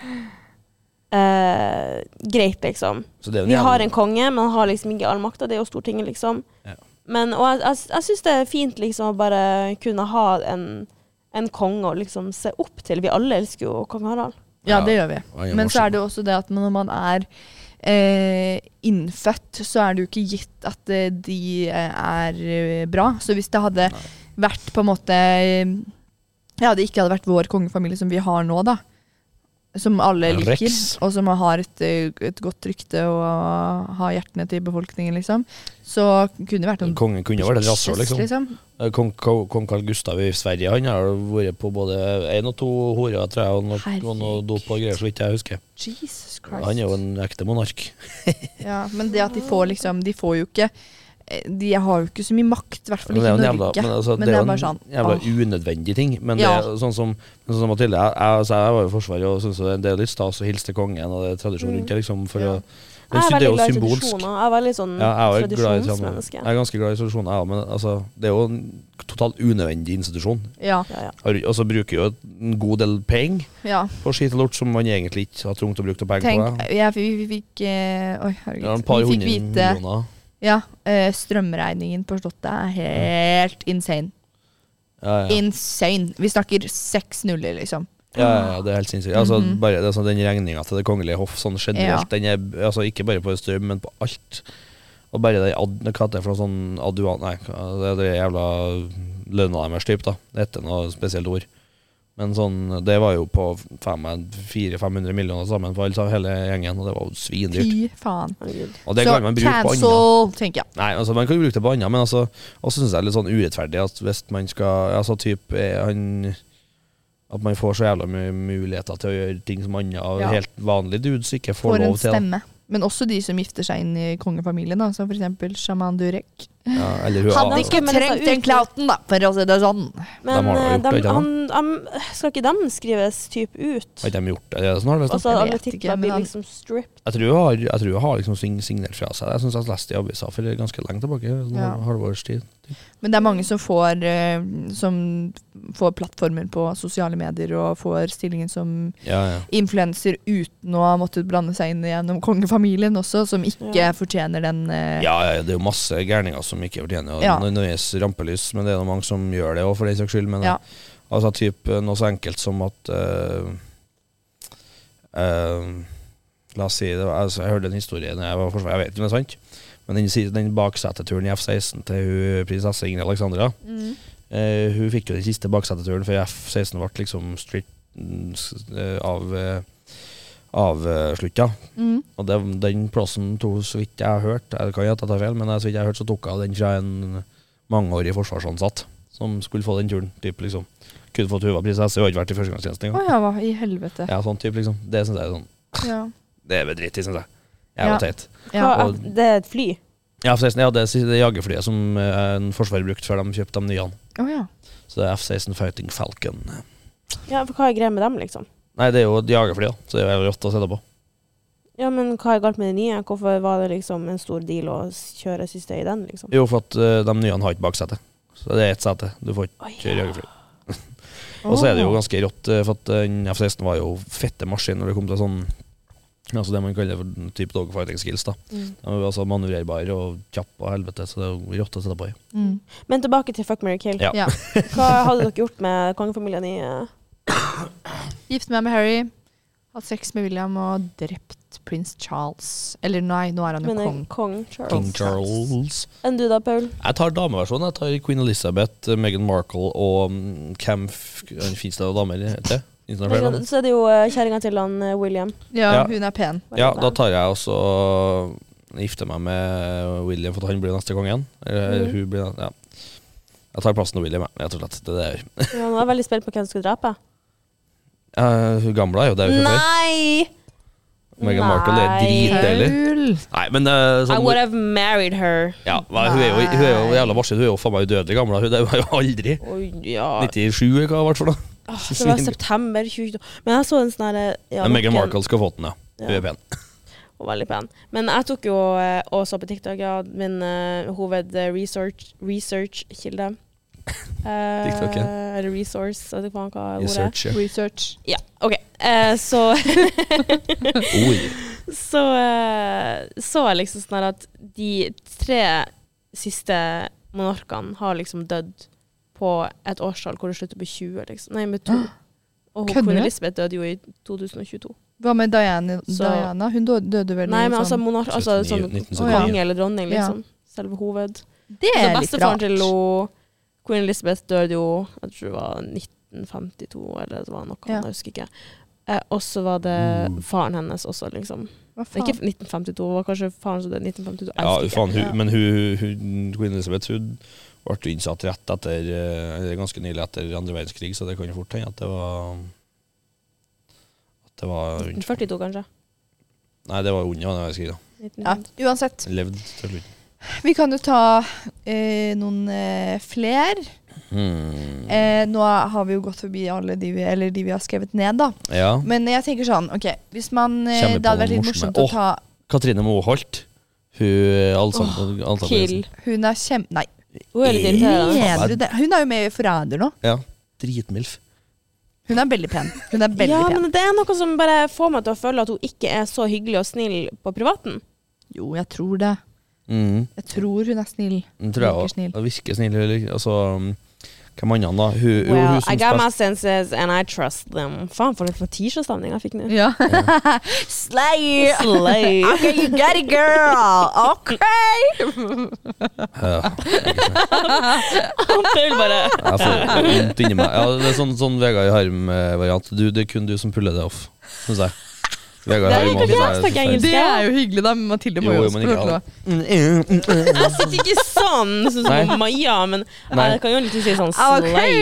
eh, greit, liksom. Så det er jo Vi har jævlig- en konge, men han har liksom ikke all makta. Det er jo Stortinget, liksom. Ja. Men, og jeg, jeg, jeg syns det er fint liksom å bare kunne ha en, en konge å liksom se opp til. Vi alle elsker jo kong Harald. Ja, det gjør vi. Ja, jeg Men må så si- er det jo også det at når man er eh, innfødt, så er det jo ikke gitt at eh, de eh, er eh, bra. Så hvis det hadde vært på en måte eh, Ja, det ikke hadde vært vår kongefamilie som vi har nå, da. Som alle liker, Rex. og som har et, eh, et godt rykte og har hjertene til befolkningen, liksom. Så kunne det vært noen Kongen kunne vært et rasshøl, liksom. liksom. Eh, Kong, kong, kong Carl Gustav i Sverige Han har jo vært på både én og to horer, tror jeg, og noe, og noe dop og greier, så vidt jeg husker. Jesus Christ. Han er jo en ekte monark. Ja, men det at de får liksom De får jo ikke eh, De har jo ikke så mye makt, i hvert fall Men det ikke er i jo en Norge. jævla, men altså, det er jo en bare sånn jævla åh. unødvendig ting. Men det er Ja. sånn som, men sånn som Mathilde, jeg, jeg, altså, jeg var jo i Forsvaret, og synes det- det er litt stas å hilse til kongen, og det er tradisjon rundt det. liksom for Ja. å, men Jeg er det er veldig jo glad i symbolsk. tradisjoner. Jeg er veldig sånn Ja, jeg, er jo glad i tradisjoner. tradisjonsmenneske. jeg er ganske glad i tradisjoner, jeg òg, men altså, det er jo en totalt unødvendig institusjon. Ja, Ja, ja. Og så bruker jo en god del penger ja. på skitt og lort som man egentlig ikke har trengt å bruke noe penger Tenk, på. ja. jeg, vi, vi fikk eh, Oi, Ja, en herregud. par vi fikk hundre vite millioner. ja, eh, strømregningen på Slottet er helt insane. Ja, ja. Insane! Vi snakker seks nuller, liksom. Ja, ja, ja, det er helt sinnssykt. Altså, Mhm. bare det, sånn, den regninga til Det kongelige hoff sånn generelt, den er altså, ikke bare på strøm, men på alt. Og bare det ad, Hva heter det for noe sånn aduan... Nei, det er det jævla lønna deres type, da. Det heter noe spesielt ord. Men sånn, det var jo på fem- 400-500 millioner sammen for alle, hele gjengen, og det var jo svindyrt. Fy faen. Herregud. Og det kan man bruke på annet. cancel, tenker jeg. Nei, altså man kan jo bruke det på annet, men altså Og så syns jeg det er litt sånn urettferdig at hvis man skal Altså typ eh, han At man får så jævla mye muligheter til å gjøre ting som andre av Ja. helt vanlige dudes ikke får For en lov til. da. stemme. Men også de som gifter seg inn i kongefamilien, da, som for eksempel sjaman Durek. Ja, eller hun Hadde Ja. ikke Men dette trengt er den ut- klauten, da, for å si det sånn. har Men da eh, gjort dem- det, ikke han- em, skal ikke dem skrives typ ut? Har ikke de gjort det? Er det sånn, har det Og så Jeg alle vet ikke, titler men blir han- liksom stripped. jeg tror hun har, jeg tror hun har liksom sign- signert fra seg. Jeg syns jeg leste i avisa for ganske lenge tilbake. Sånn Ja. halvårstid. Men det er mange som får, eh, som får plattformer på sosiale medier og får stillingen som Ja, ja. influenser uten å ha måttet blande seg inn gjennom kongefamilien også, som ikke Ja. fortjener den eh, Ja, ja, det er jo masse gærninger som ikke fortjener ja. Ja. nøyes rampelys, men det er jo mange som gjør det òg, for den saks skyld. Men Ja. altså typ eh, noe så enkelt som at eh, eh, La oss si det var, altså, Jeg hørte en historie da jeg var i Forsvaret, jeg vet ikke om det er sant, men den, si- den bakseteturen i F-16 til hun, prinsesse Ingrid Alexandra Mm. eh, Hun fikk jo den siste bakseteturen, for F-16 ble liksom stritt mm, s- eh, av eh, avslutta. Mm. Og det, den plassen tok, så vidt jeg har hørt Jeg kan jo at jeg tar feil, men så vidt jeg har hørt, så tok jeg den fra en mangeårig forsvarsansatt som skulle få den turen. Typ, liksom. Kunne fått hun var prinsesse, hun har ikke vært i førstegangstjenesten Å engang. ja, hva i helvete. Ja, sånn typ, liksom. Det synes jeg er sånn Ja. Det er bedritt, synes jeg. Jeg Ja. var teit. Ja. Hva, det er et fly. Ja, F-16 ja, det er det jagerflyet som eh, en forsvarer brukte før de kjøpte de nye. Å ja. Så det er F-16 Fighting Falcon. Ja, for hva er greia med dem, liksom? Nei, det er jo et jagerfly, da, så det er jo rått å se det på. Ja, men hva er galt med det nye? Hvorfor var det liksom en stor deal å s- kjøre siste i den, liksom? Jo, for at eh, de nye har ikke baksete. Så det er ett sete. Du får Oi, ikke kjøre jagerfly. Og så er det jo ganske rått, eh, for at den F-16 var jo fette maskin når det kom til sånn Altså det man kaller for den type dogfighting skills. da Mm. De var altså manøvrerbar og kjapp og helvete, så det er jo rått å sette på i. Mm. Men tilbake til Fuck, marry, kill. Ja. Ja. Hva hadde dere gjort med kongefamilien i eh, Gift meg med Harry. At sex med William og drept prins Charles. Eller nei, nå er han jo Men kong. kong. kong Charles. King Charles. Enn du da, Paul? Jeg tar dameversjonen. Jeg tar Queen Elizabeth, eh, Meghan Markle og mm, Cam F- Finnes det damer, eller heter det? Finnes det flere damer? Så er det jo eh, kjerringa til han eh, William. Ja, Ja. hun er pen. Hva Ja, heter da han? tar jeg også eh, Gifter meg med William, for at han blir neste konge igjen. Eller Mhm. hun blir Ja. Jeg tar plassen til William, jeg, rett og slett. Det er det jeg gjør. ja, nå er jeg veldig spent på hvem du skal drepe. Eh, hun gamle er jo der hun fra før. Nei! Meghan Markle er Nei. dritdeilig. Paul! Nei, men eh, I would sånn have married her. ja, hva- hun, er jo, hun er jo jævla varsel. Hun er jo faen meg udødelig gammel. da. Hun er jo aldri Oi, ja. 97, eller hva det var for noe. Åh, det var september 2022. Men jeg så en sånn herre ja, Men Meghan nakken- Markle skal få den, ja. Hun Ja. er pen. Hun var veldig pen. Men jeg tok jo eh, også på TikTok ja, min eh, hovedresearch research-kilde. Eh, TikTok, ja. Eller resource, jeg vet ikke faen hva ordet er. Research. ja. Research. Ja, OK. Eh, så Oi. så eh, så jeg liksom sånn her at de tre siste monarkene har liksom dødd på et årstall hvor det slutter på 20, liksom. Nei, med to. Og hun- Kødder Queen du? Elizabeth døde jo i 2022. Hva med Diana? Så- Diana? Hun dø- døde vel Nei, i men altså sånn monark... Altså 79, sånn 1979. konge eller Ja. dronning, liksom. Selve hoved. Det Så er litt bestefaren rart. til hun, Queen Elizabeth døde jo Jeg tror det var 1952, eller det var noe Ja. annet, jeg husker ikke. Eh, og så var det Mm. faren hennes også, liksom. Hva Det er faen? Ikke 1952, det var kanskje faren som døde i 1952. Jeg Ja, husker ikke. faen, hun, Ja. men hun, hun, Queen Elizabeth hun ble jo innsatt rett etter eh, eller ganske nylig etter andre verdenskrig, så det kan jo fort hende at det var At det var rundt 1942, kanskje. Nei, det var under andre verdenskrig, da. Ja, 1950. uansett. Levd til slutten. Vi kan jo ta eh, noen eh, fler. Hmm. Eh, nå har vi jo gått forbi alle de vi, eller de vi har skrevet ned, da. Ja. Men jeg tenker sånn, ok, hvis man eh, Kjenner på Det hadde vært noen litt morsomme. morsomt å Åh. ta Katrine Moholt. Hun eh, Alexander Kill. Hun er kjempe... Nei, Hun er litt irriterende. mener du det? Hun er jo med i Forræder nå. Ja. Dritmilf. Hun er veldig pen. Hun er veldig Ja, pen. men det er noe som bare får meg til å føle at hun ikke er så hyggelig og snill på privaten. Jo, jeg tror det. Mm. Jeg tror hun er snill. Den tror jeg Virker også. snill. Ja, Virker snill. eller- Altså, um, hvem andre, da? Hun, jo, Well, hun som I got spilte- my senses and I trust them. Faen, for en Fetisha-stemning jeg fikk nå. Ja. Slay! Slay. Okay, you got it, girl! Ok! Ja. Paul bare Jeg får vondt inni meg. Ja, det er sånn, sånn Vegard i Harm-variant. Du, Det er kun du som puller det off, syns jeg. Vegard i Nei, Harm kanskje også jeg er snakker forferdelig. engelsk. Det er jo hyggelig, da. men Mathilde må Jo, jo jo, også men få ikke lov til å alle. Mm, mm, mm. Altså, ikke sånn, sånn som Nei. Maja, men Nei. jeg kan jo liksom si sånn Ah, Ok, slay.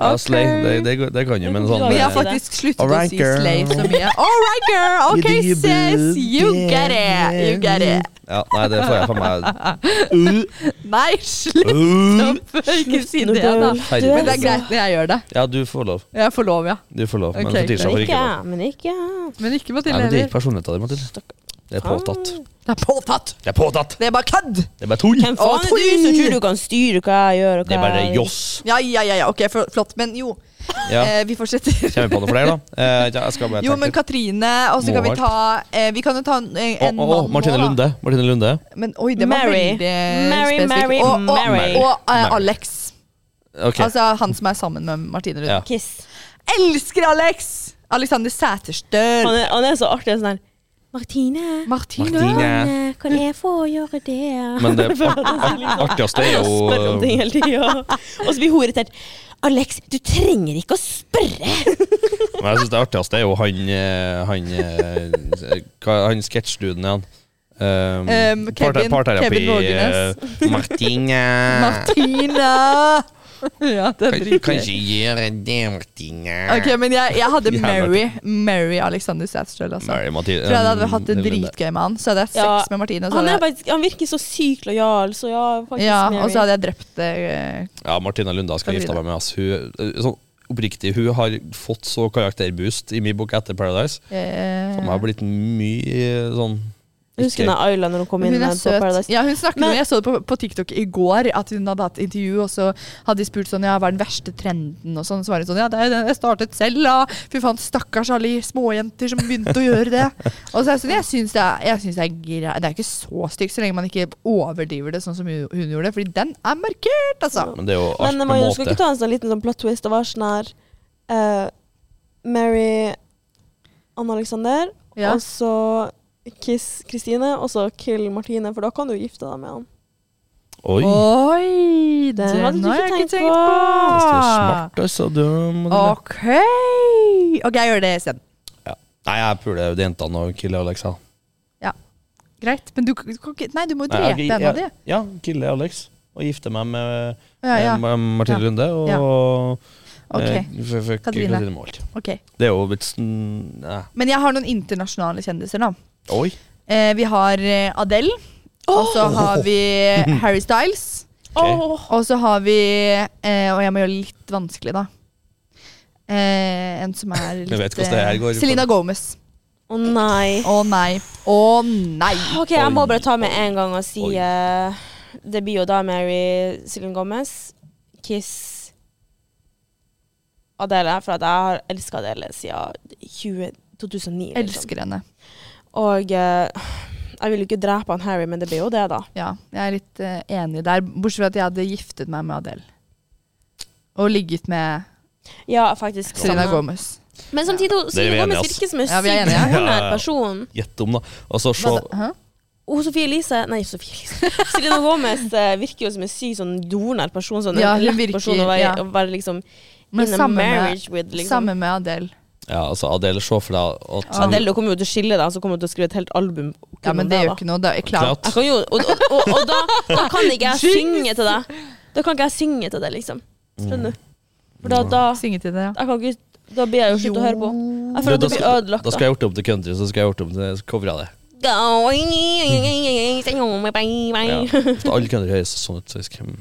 Ja, slay, det, det, går- det kan jo, men sånn Vi har det. faktisk sluttet All right, å si girl. slay så mye. All right, girl! You Ok, do you, sis! boo. You get it! You get it! Ja, nei, det får jeg for meg. Uh, Nei, slutt! uh. Ikke si det, da. Herregud. Men det er greit når jeg gjør det. Ja, du får lov. Jeg får lov, ja. Du får lov. Men Ok, Fetisha Men får ikke ikke, lov. men ikke. Men ikke Mathilde Nei, men det er heller. ikke personligheten din, Mathilde. Det er påtatt. Det er påtatt! Det er påtatt! Det er bare kødd! Det er bare tull! Hvem faen er du som tror du kan styre hva jeg gjør? Og Det er hva bare jeg- joss. Ja, ja, ja, ja. ok, for- flott. Men jo, Ja. eh, vi fortsetter. Kommer vi på noe flere, da? Eh, ja, jeg skal bare Jo, tenke men litt. Katrine, og så kan vi Målt. ta eh, Vi kan jo ta en, Å, en å, å, mann Martine nå, da. Lunde. Martine Lunde. Men oi, det var Mary. veldig Mary, spesifikt. Mary, og, og, Mary. Og, eh, Mary. Alex. Ok. Altså han som er sammen med Martine Runde. Ja. Kiss. Elsker Alex! Alexander Han Sæterstøl. er, han er så artig. Sånn her Martine, Martine. Martine. Anne, kan jeg få gjøre det? Men det artigste er Og spør om ting jo hele tiden. Og så blir hun irritert. Alex, du trenger ikke å spørre! Men jeg synes det artigste er jo han eh, Han, eh, hva- han sketsjduden, han. Um, Um, Kevin- Kevin Vågenes. eh, Martine. Martine! ja, det er Kan, kan dritgøy. ikke gjøre det, Martine. Ok, men jeg, jeg hadde Jævla Mary Mary Alexander Sæterstøl. Altså. Mary Mathilde. Tror jeg hadde hatt det um, dritgøy med han. Så hadde jeg hatt Ja, sex med Martine. Og så Han, er hadde, faktisk, han virker så sykt lojal, så ja, faktisk jeg- Altså, ja, Mary. og så hadde jeg drept eh, Ja, Martina Lunda skal Kan gifte bli meg med ass. Hun, eh, sånn, oppriktig, hun har fått så karakterboost i min bok etter Paradise. eh, Hun har blitt mye eh, sånn Jeg husker den Ayla når hun kom inn Hun er på Paradise. søt. Ja, hun snakket Men- om, Jeg så det på, på TikTok i går, at hun hadde hatt intervju, og så hadde de spurt sånn, ja, hva er den verste trenden, og sånn. Så var hun sånn, ja, det er den jeg startet selv, da. Fy faen, stakkars alle småjenter som begynte å gjøre det. Og så er jeg sånn, jeg syns det, er- jeg synes det er greit. Det er ikke så stygt, så lenge man ikke overdriver det sånn som hun, hun gjorde, fordi den er markert, altså. Men det er jo alt Men på Maja, skal måte. ikke ta en sånn liten sånn plot twist og være sånn her eh, Mary Anne Alexander, Ja. og så Kiss Kristine, og så Kill Martine, for da kan du gifte deg med han. Oi. Oi, Den hadde du ikke tenkt på. Hvis du er smart, altså. Du må Ok. Ok, jeg gjør det isteden. Nei, jeg puler jo jentene og killer Alex. da. Greit. Men du, kan ikke Nei, du må jo Nei, jeg- drepe en av de. jeg- Ja, killer Alex. Og gifte meg med, Ja, ja. med Martine Ja. Lunde og Ok, eh, f- f- Katrine. Katrine Moholt. ok. Det er jo litt sånn nei. Men jeg har noen internasjonale kjendiser, da. Oi. Eh, vi har eh, Adele. Og så har vi eh, Harry Styles. Åh, Og så har vi eh, Og jeg må gjøre det litt vanskelig, da. Eh, en som er litt vet hvordan det her eh, går. Selena Gomez. Å nei. Å nei. Å nei. OK, jeg må Oi, bare ta med en gang og si oi. eh, Det blir jo da Mary Siljen Gomez, Kiss Adele, for at jeg har elska Adele siden 20, 2009. Liksom. Elsker henne. Og eh, jeg vil jo ikke drepe han Harry, men det blir jo det, da. Ja, jeg er litt eh, enig der. Bortsett fra at jeg hadde giftet meg med Adele. Og ligget med Ja, faktisk. Selena samme. Gomez. Men samtidig, er vi Silje Gomez enige, ass. virker som en altså. Ja, vi er sykt enige. Ja, ja, jordnær ja. person. Gjett om, da. Og så se Hva da? Hæ? Og Sofie Elise Nei, Sofie Elise. Silje Gomez eh, virker jo som en sykt sånn jordnær person. Sånn Ja, en hun lett virker- person å være, ja. å være liksom Men in a samme med- marriage with. Liksom. Sammen med Adele. Ja, altså Adele, se for deg at Så Adele kommer jo til å skille deg, så kommer hun til å skrive et helt album kun Ja, men om det deg, gjør da. ikke noe. Det er klart. Jeg kan jo, og, og, og, og da, da kan ikke jeg synge til deg. Da kan ikke jeg synge til deg, liksom. Skjønner du? For da, da, Synge til det, ja. jeg kan ikke, da blir jeg jo slutt å høre på. Jeg føler at da, det blir skal, ødelagt. da skal jeg gjort det om til country, så skal jeg gjort det om til cover av det. Ja. Jeg For alle country høres sånn ut, faktisk. Mm.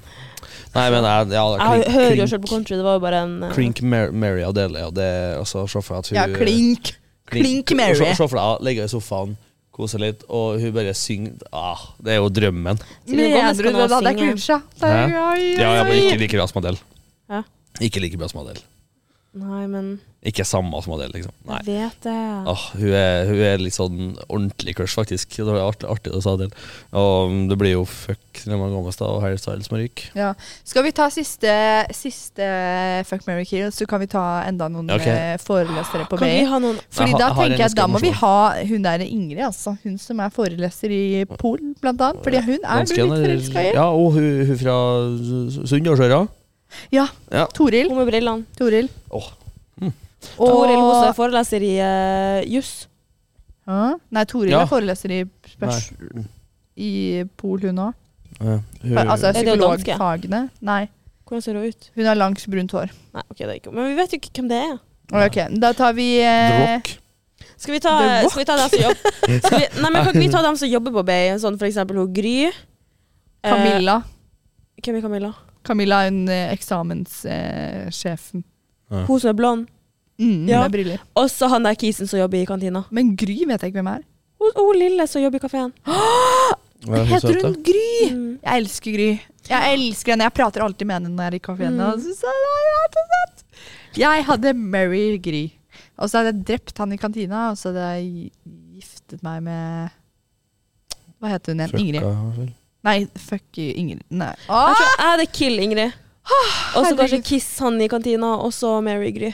Nei, men jeg, ja, klink- hører jo klink- selv på country, det var jo bare en eh, Klink Mar- Mary Adele, ja. Det er altså, se for deg at hun Ja, klink. Klink Mary. Se se for deg, ja, ligge i sofaen, kose litt, og hun bare synger. Ah, det er jo drømmen. Selena Mener Gomez du det? kan da? også Det er synge. cringe, ja. Det Hæ? er- oi, Ja, ja, oi, men oi. ikke like bra som Adele. Hæ? Ikke like bra som Adele. Nei, men Ikke samme som Adele, liksom. Nei. jeg vet det. Ah, hun, er, hun er litt sånn ordentlig crush, faktisk. Det var artig, artig det sa Adele. Og mm, det blir jo fuck Selena Gomez da, og Harry Styles med ryk. Ja. Skal vi ta siste, siste Fuck Mary Kill, så kan vi ta enda noen Ok. eh, forelesere på Kan vi vei. ha noen Fordi Jeg har- da jeg har en tenker jeg at da må ganske vi ha hun der Ingrid, altså. Hun som er foreleser i Polen, blant annet. Fordi hun er du Ganske litt enig. forelska i. Ja, og hun, hun fra Sunndalsøra. Ja. Ja. Toril. Hun med brillene. Toril. Åh. Og Toril Hose er foreleser i eh, juss. Hæ? Nei, Toril Ja. er foreleser i, spørs- i Pol, hun òg. Ja, hun- Altså det jo danske? psykologfagene. Nei. Hvordan ser hun ut? Hun har langt, brunt hår. Nei, ok, det er ikke Men vi vet jo ikke hvem det er. Ok, Da tar vi The eh, Rock. Skal vi ta, The Rock? skal vi ta dem som jobber skal vi, Nei, men kan ikke vi ta dem som jobber på Bay? Sånn for eksempel hun Gry. Eh, Camilla. hvem er Camilla? Camilla er hun eh, eksamenssjefen. Hun som er blond. Mm, Ja. Med briller. Og så han der kisen som jobber i kantina. Men Gry vet jeg ikke hvem er. Hun, hun lille som jobber i kafeen. Ja, hun Heter søte. hun Gry? Mm. Jeg elsker Gry. Jeg elsker henne. Jeg prater alltid med henne når jeg er i kafeen. Mm. og så sier jeg, «Nei, jeg er så søt!» Jeg hadde Mary Gry. Og så hadde jeg drept han i kantina, og så hadde jeg giftet meg med Hva heter hun igjen? Fucka, Ingrid. vel. Nei, fuck you, Ingrid. Nei. Jeg Ah! tror jeg hadde Kill Ingrid. Og så kanskje herregud. Kiss han i kantina, og så Mary Gry.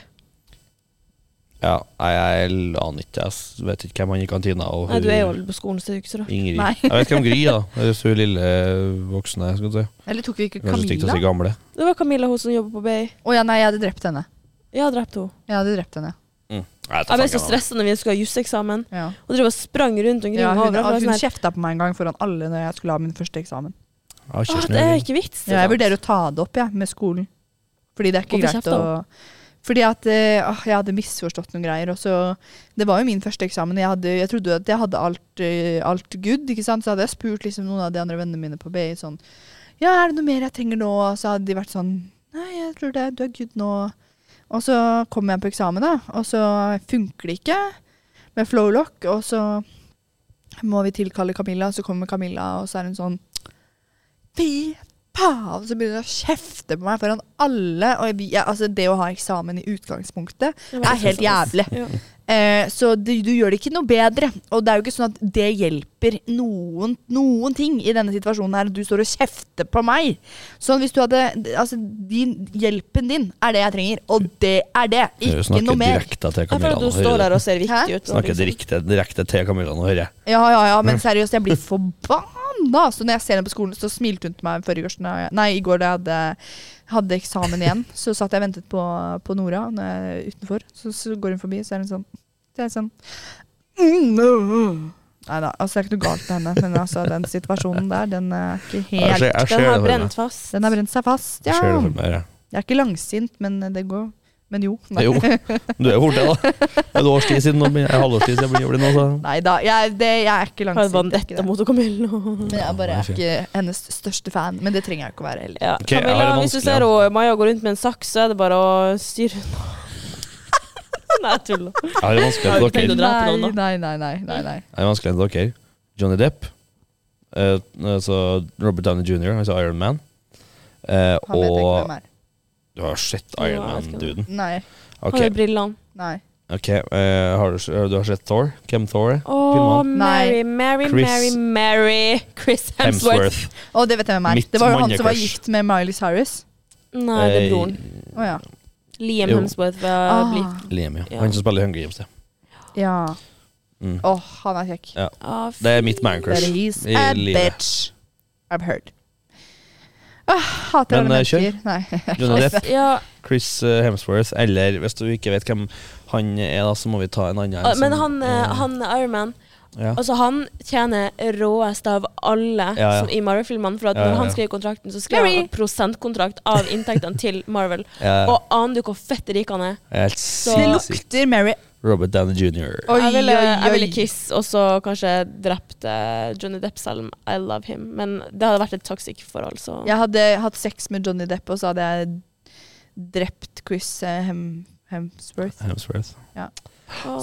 Ja, nei, jeg aner ikke. Jeg s- vet ikke hvem han i kantina og Nei, hun- du er jo aldri på skolen, så det er jo ikke så rart. Ingrid. Nei. Jeg vet ikke om Gry, da. Hvis hun lille eh, voksne. Skal du si. Eller tok vi ikke Kanskje jeg tenkte å Camilla? si gamle. Det var Camilla, hun som jobber på Bay. Å ja, nei, jeg hadde drept henne. Jeg har drept henne. Jeg hadde drept henne. Mm. Jeg ble så stressa når vi skulle ha jusseksamen. Ja. Og drev og sprang rundt omkring. Ja, og hun overalt. Jeg var hun sånn her, kjefta på meg en gang foran alle når jeg skulle ha min første eksamen. Ah, «Å, Det er ikke vits. liksom. Ja, jeg vurderer å ta det opp jeg, med skolen. Fordi det er ikke Hvorfor greit å kjefta Fordi at eh, åh, jeg hadde misforstått noen greier. Og så, det var jo min første eksamen. Jeg, hadde, jeg trodde at jeg hadde alt, eh, alt good. Ikke sant? Så hadde jeg spurt liksom, noen av de andre vennene mine på BI sånn Ja, er det noe mer jeg trenger nå? Og så hadde de vært sånn Nei, jeg tror det. Du er good nå. Og så kom jeg på eksamen, da. Og så funker det ikke med flowlock. Og så må vi tilkalle Camilla, og så kommer Camilla, og så er hun sånn Fy Faen, så begynner hun å kjefte på meg foran alle. Og jeg, jeg, altså, det å ha eksamen i utgangspunktet er helt jævlig. Ja. Eh, så du, du gjør det ikke noe bedre. Og det er jo ikke sånn at det hjelper noen, noen ting i denne situasjonen her. at Du står og kjefter på meg. Sånn hvis du hadde Altså, din, hjelpen din er det jeg trenger, og det er det. Hun Ikke noe snakker mer. direkte til Jeg føler Camilla. at nå, hun står hører der du? og ser viktig Hæ? ut. nå, Snakker liksom. direkte, direkte til Camilla nå, hører jeg. Ja, ja, ja, men seriøst, jeg blir forbanna. Så når jeg ser henne på skolen, så smilte hun til meg forrige års, når jeg- nei, i går da jeg hadde, hadde eksamen igjen. Så satt jeg og ventet på, på Nora når jeg, utenfor. Så, så går hun forbi, så er hun sånn så er jeg sånn "Mm, Nei da, altså, det er ikke noe galt med henne, men altså, den situasjonen der, den er ikke Jeg ser, helt jeg ser Den det har for meg. brent fast. Den har brent seg fast, ja. Jeg ser det for meg. jeg. Jeg er ikke langsint, men det går. Men jo. Nei. Jo, du er jo fort det, da. Et års tid siden, nå blir- en halvårs tid siden jeg blir blind. Altså. Neida, jeg, det, jeg er ikke Har en langsint. jeg er ikke vendetta det. mot Camilla. Men jeg bare Ja, er det er ikke hennes største fan. Men det trenger jeg ikke å være heller. Ja. Ok, jeg har det Camilla, hvis du vanskelig, ser ja. hun, Maja gå rundt med en saks, så er det bare å styre unna. Nei, jeg tuller. Jeg har det vanskeligere enn dere. Vil du drepe noen, da? nei, nei, nei, nei, nei. Jeg er vanskeligere enn dere. Johnny Depp, eh, altså Robert Downey jr., altså Iron Man, eh, Han vet ikke og hvem er. Du har sett Ja, jeg Iron vet ikke Man-duden. Nei, Han Ok, har brillene. nei. ok, eh, har du, du har sett Thor? Hvem Thor er? Å, Filmen. Mary, Mary, Chris- Mary, Mary. Chris Hemsworth. Hemsworth. Å, det vet jeg hvem er. Mitt Det var jo han som var mannekrush. gift med Miley Cyrus. Nei, det eh, er broren. Å ja. Liam Jo. Hemsworth Ah, var blitt. Eh, Liam, ja. Ja. Han som spiller i Hunger Games. det. ja. Mm. Å, han er kjekk. Ah, f- Det er But mitt man-crush. he's i a livet. bitch. I've heard. Åh, hater Men, alle eh, kjør. mennesker. Nei. Johnny Depp, Ja, Chris eh, Hemsworth, eller hvis du ikke vet hvem han er, da, så må vi ta en annen. ah, som- men han, eh, eh, han Iron Man ja. Altså Han tjener råest av alle Ja, ja. Som i Marvel-filmene. For at Ja, ja, når ja. han skrev kontrakten, så skrev Mary. han prosentkontrakt av inntektene til Marvel. Ja. Og aner du hvor fett rik han er? Jeg er Helt Det sinnssykt. lukter Mary. Robert Downey jr. Oi, jeg, ville, oi, oi. jeg ville Kiss, og så kanskje drepte Johnny Depp selv om I love him. Men det hadde vært et toxic forhold, så Jeg hadde hatt sex med Johnny Depp, og så hadde jeg drept Chris eh, Hem Hemsworth. Hemsworth. Å, nei.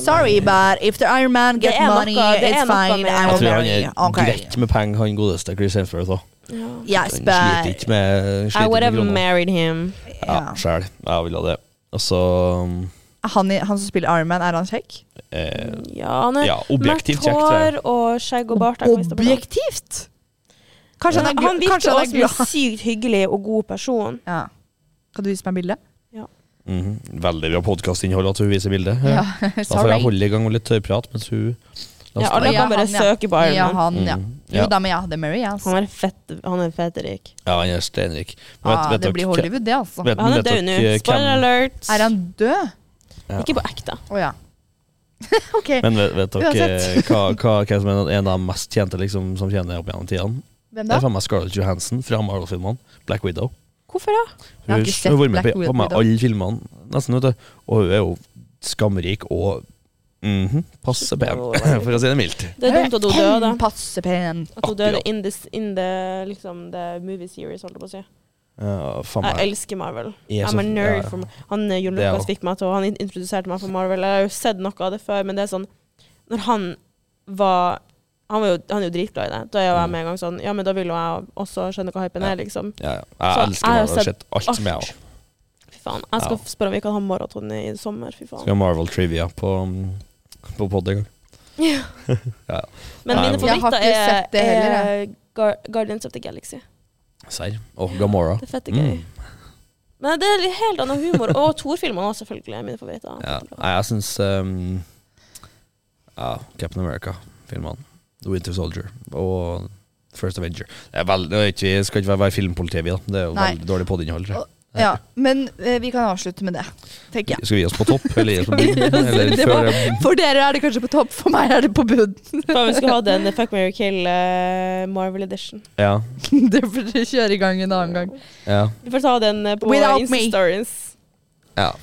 Sorry, but if the Iron Man Det get er money, noe- det it's er noe fine. med- I Jeg will tror han marry. er Okay. greit med penger, han godeste Chris Hemsworth òg. Ja. Yes, Han sliter but ikke med I sliter would have ikke med kroner. married him. ja. Ja, sjæl. Jeg vil ha det. Og så han, i- han som spiller Iron Man, er han kjekk? eh, Ja, han er Ja, objektivt kjekt. tror jeg. hår og skjegg og bart. jeg kan liste på det. Objektivt! Kanskje han er, han gl- virker kanskje også han er som en glad. sykt hyggelig og god person. Ja. Kan du vise meg bildet? Mhm. Veldig bra podkastinnhold at hun viser bildet. Ja, Da får jeg sorry. holde i gang med litt tørrprat mens hun Ja, alle Ja, kan bare han, ja. søke på Iron Ja, Man. han, ja. Mhm. Jo ja. da, men jeg hadde Mary, jeg, altså. Han er fett, han er fett rik. ja, han er steinrik. Men Ah, det blir dere- Hollywood, det, altså. vet- Men han er vet død nå. dere Spoiler hvem- alert. Er han død? Ja. Ikke på ekte. Å ja. OK. Men vet, vet dere Uansett. hva, hva, hvem som er en av de mest tjente liksom, som tjener opp gjennom tidene? Hvem Det da? er sånn- faen meg Scarlett Johansson fra Marvel-filmene. Black Widow. Hvorfor da? Jeg har Hun ikke sett hun har vært med Black på, på med Widow. alle filmene, nesten, vet du. Og hun er jo skamrik og mhm, passe pen, for å si det mildt. Det er dumt at hun døde. Pen, Passe pen. At hun døde Akkurat. in, this, in the, liksom, the movie series, holdt jeg på å si. Ja, faen Jeg meg. elsker Marvel. Jeg er så- I'm a nerd. ja, ja. For, Mar- han eh, Jon Det er Lucas jo- fikk meg til og Han in- introduserte meg for Marvel. Jeg har jo sett noe av det før, men det er sånn Når han var Han, var jo, han er jo dritglad i det. Da er jo jeg med en gang sånn Ja, men da vil jo jeg også skjønne hva hypen Mm. Ja. er, liksom. Ja, ja. Jeg elsker Så jeg har Marvel. Jeg har sett sett alt som er alt. av. Fy faen. Jeg skal Ja. spørre om vi kan ha maraton i sommer. Fy faen. Skal ha Marvel Trivia på, mm, på pod en gang. Ja. Jeg Nei, men- Men mine har favoritter ikke er, sett det heller, er Gar Guardians of the Galaxy. Serr. Og Gamora. Det er fette gøy. Mm. Men det er litt helt annen humor. Og Thor-filmene også, selvfølgelig. er mine favoritter. Ja. Nei, jeg syns um, ja, Captain America-filmene. The Winter Soldier og First Avenger. Det er vel- det er ikke, vi skal ikke være- være filmpolitiet, vi, da. Det er jo Nei. veldig dårlig podinnhold. tror jeg. Ja, men eh, vi kan avslutte med det, tenker jeg. Skal vi gi oss på topp, eller gi oss på bunn? Eller Det var- før For dere er det kanskje på topp, for meg er det på bunn. Faen, vi skulle hatt en Fuck, Mary Kill eh, Marvel Edition. Ja. det får dere kjøre i gang en annen gang. ja. Vi får ta den eh, på Without Insta-stories. ja.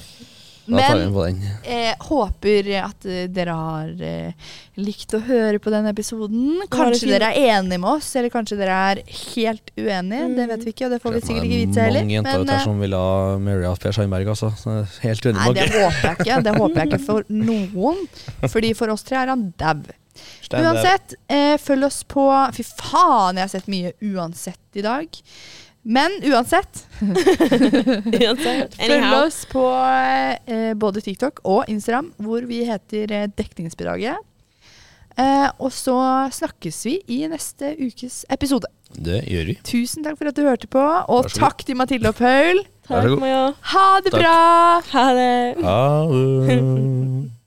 Da tar Men vi den på den. eh, håper at eh, dere har eh, likt å høre på denne episoden. Kanskje fint. dere er enige med oss, eller kanskje dere er helt uenige. Det vet vi ikke, og det får vi sikkert ikke vite heller. Mange jenter men, ute her eh, som ville ha Mary av Per Sandberg, altså. Så jeg er Helt uenig Nei, med det dere. håper jeg ikke. Det håper jeg ikke for noen. Fordi for oss tre er han dau. Stand up. Uansett, eh, følg oss på Fy faen, jeg har sett mye uansett i dag. Men uansett, Uansett. følg Anyhow. oss på eh, både TikTok og Instagram, hvor vi heter eh, Dekningsbidraget. Eh, og så snakkes vi i neste ukes episode. Det gjør vi. Tusen takk for at du hørte på, og Vær så god. takk til Mathilde og Paul. Vær så Takk, god. Maja. Ha det Takk. bra! Ha det. Ha det.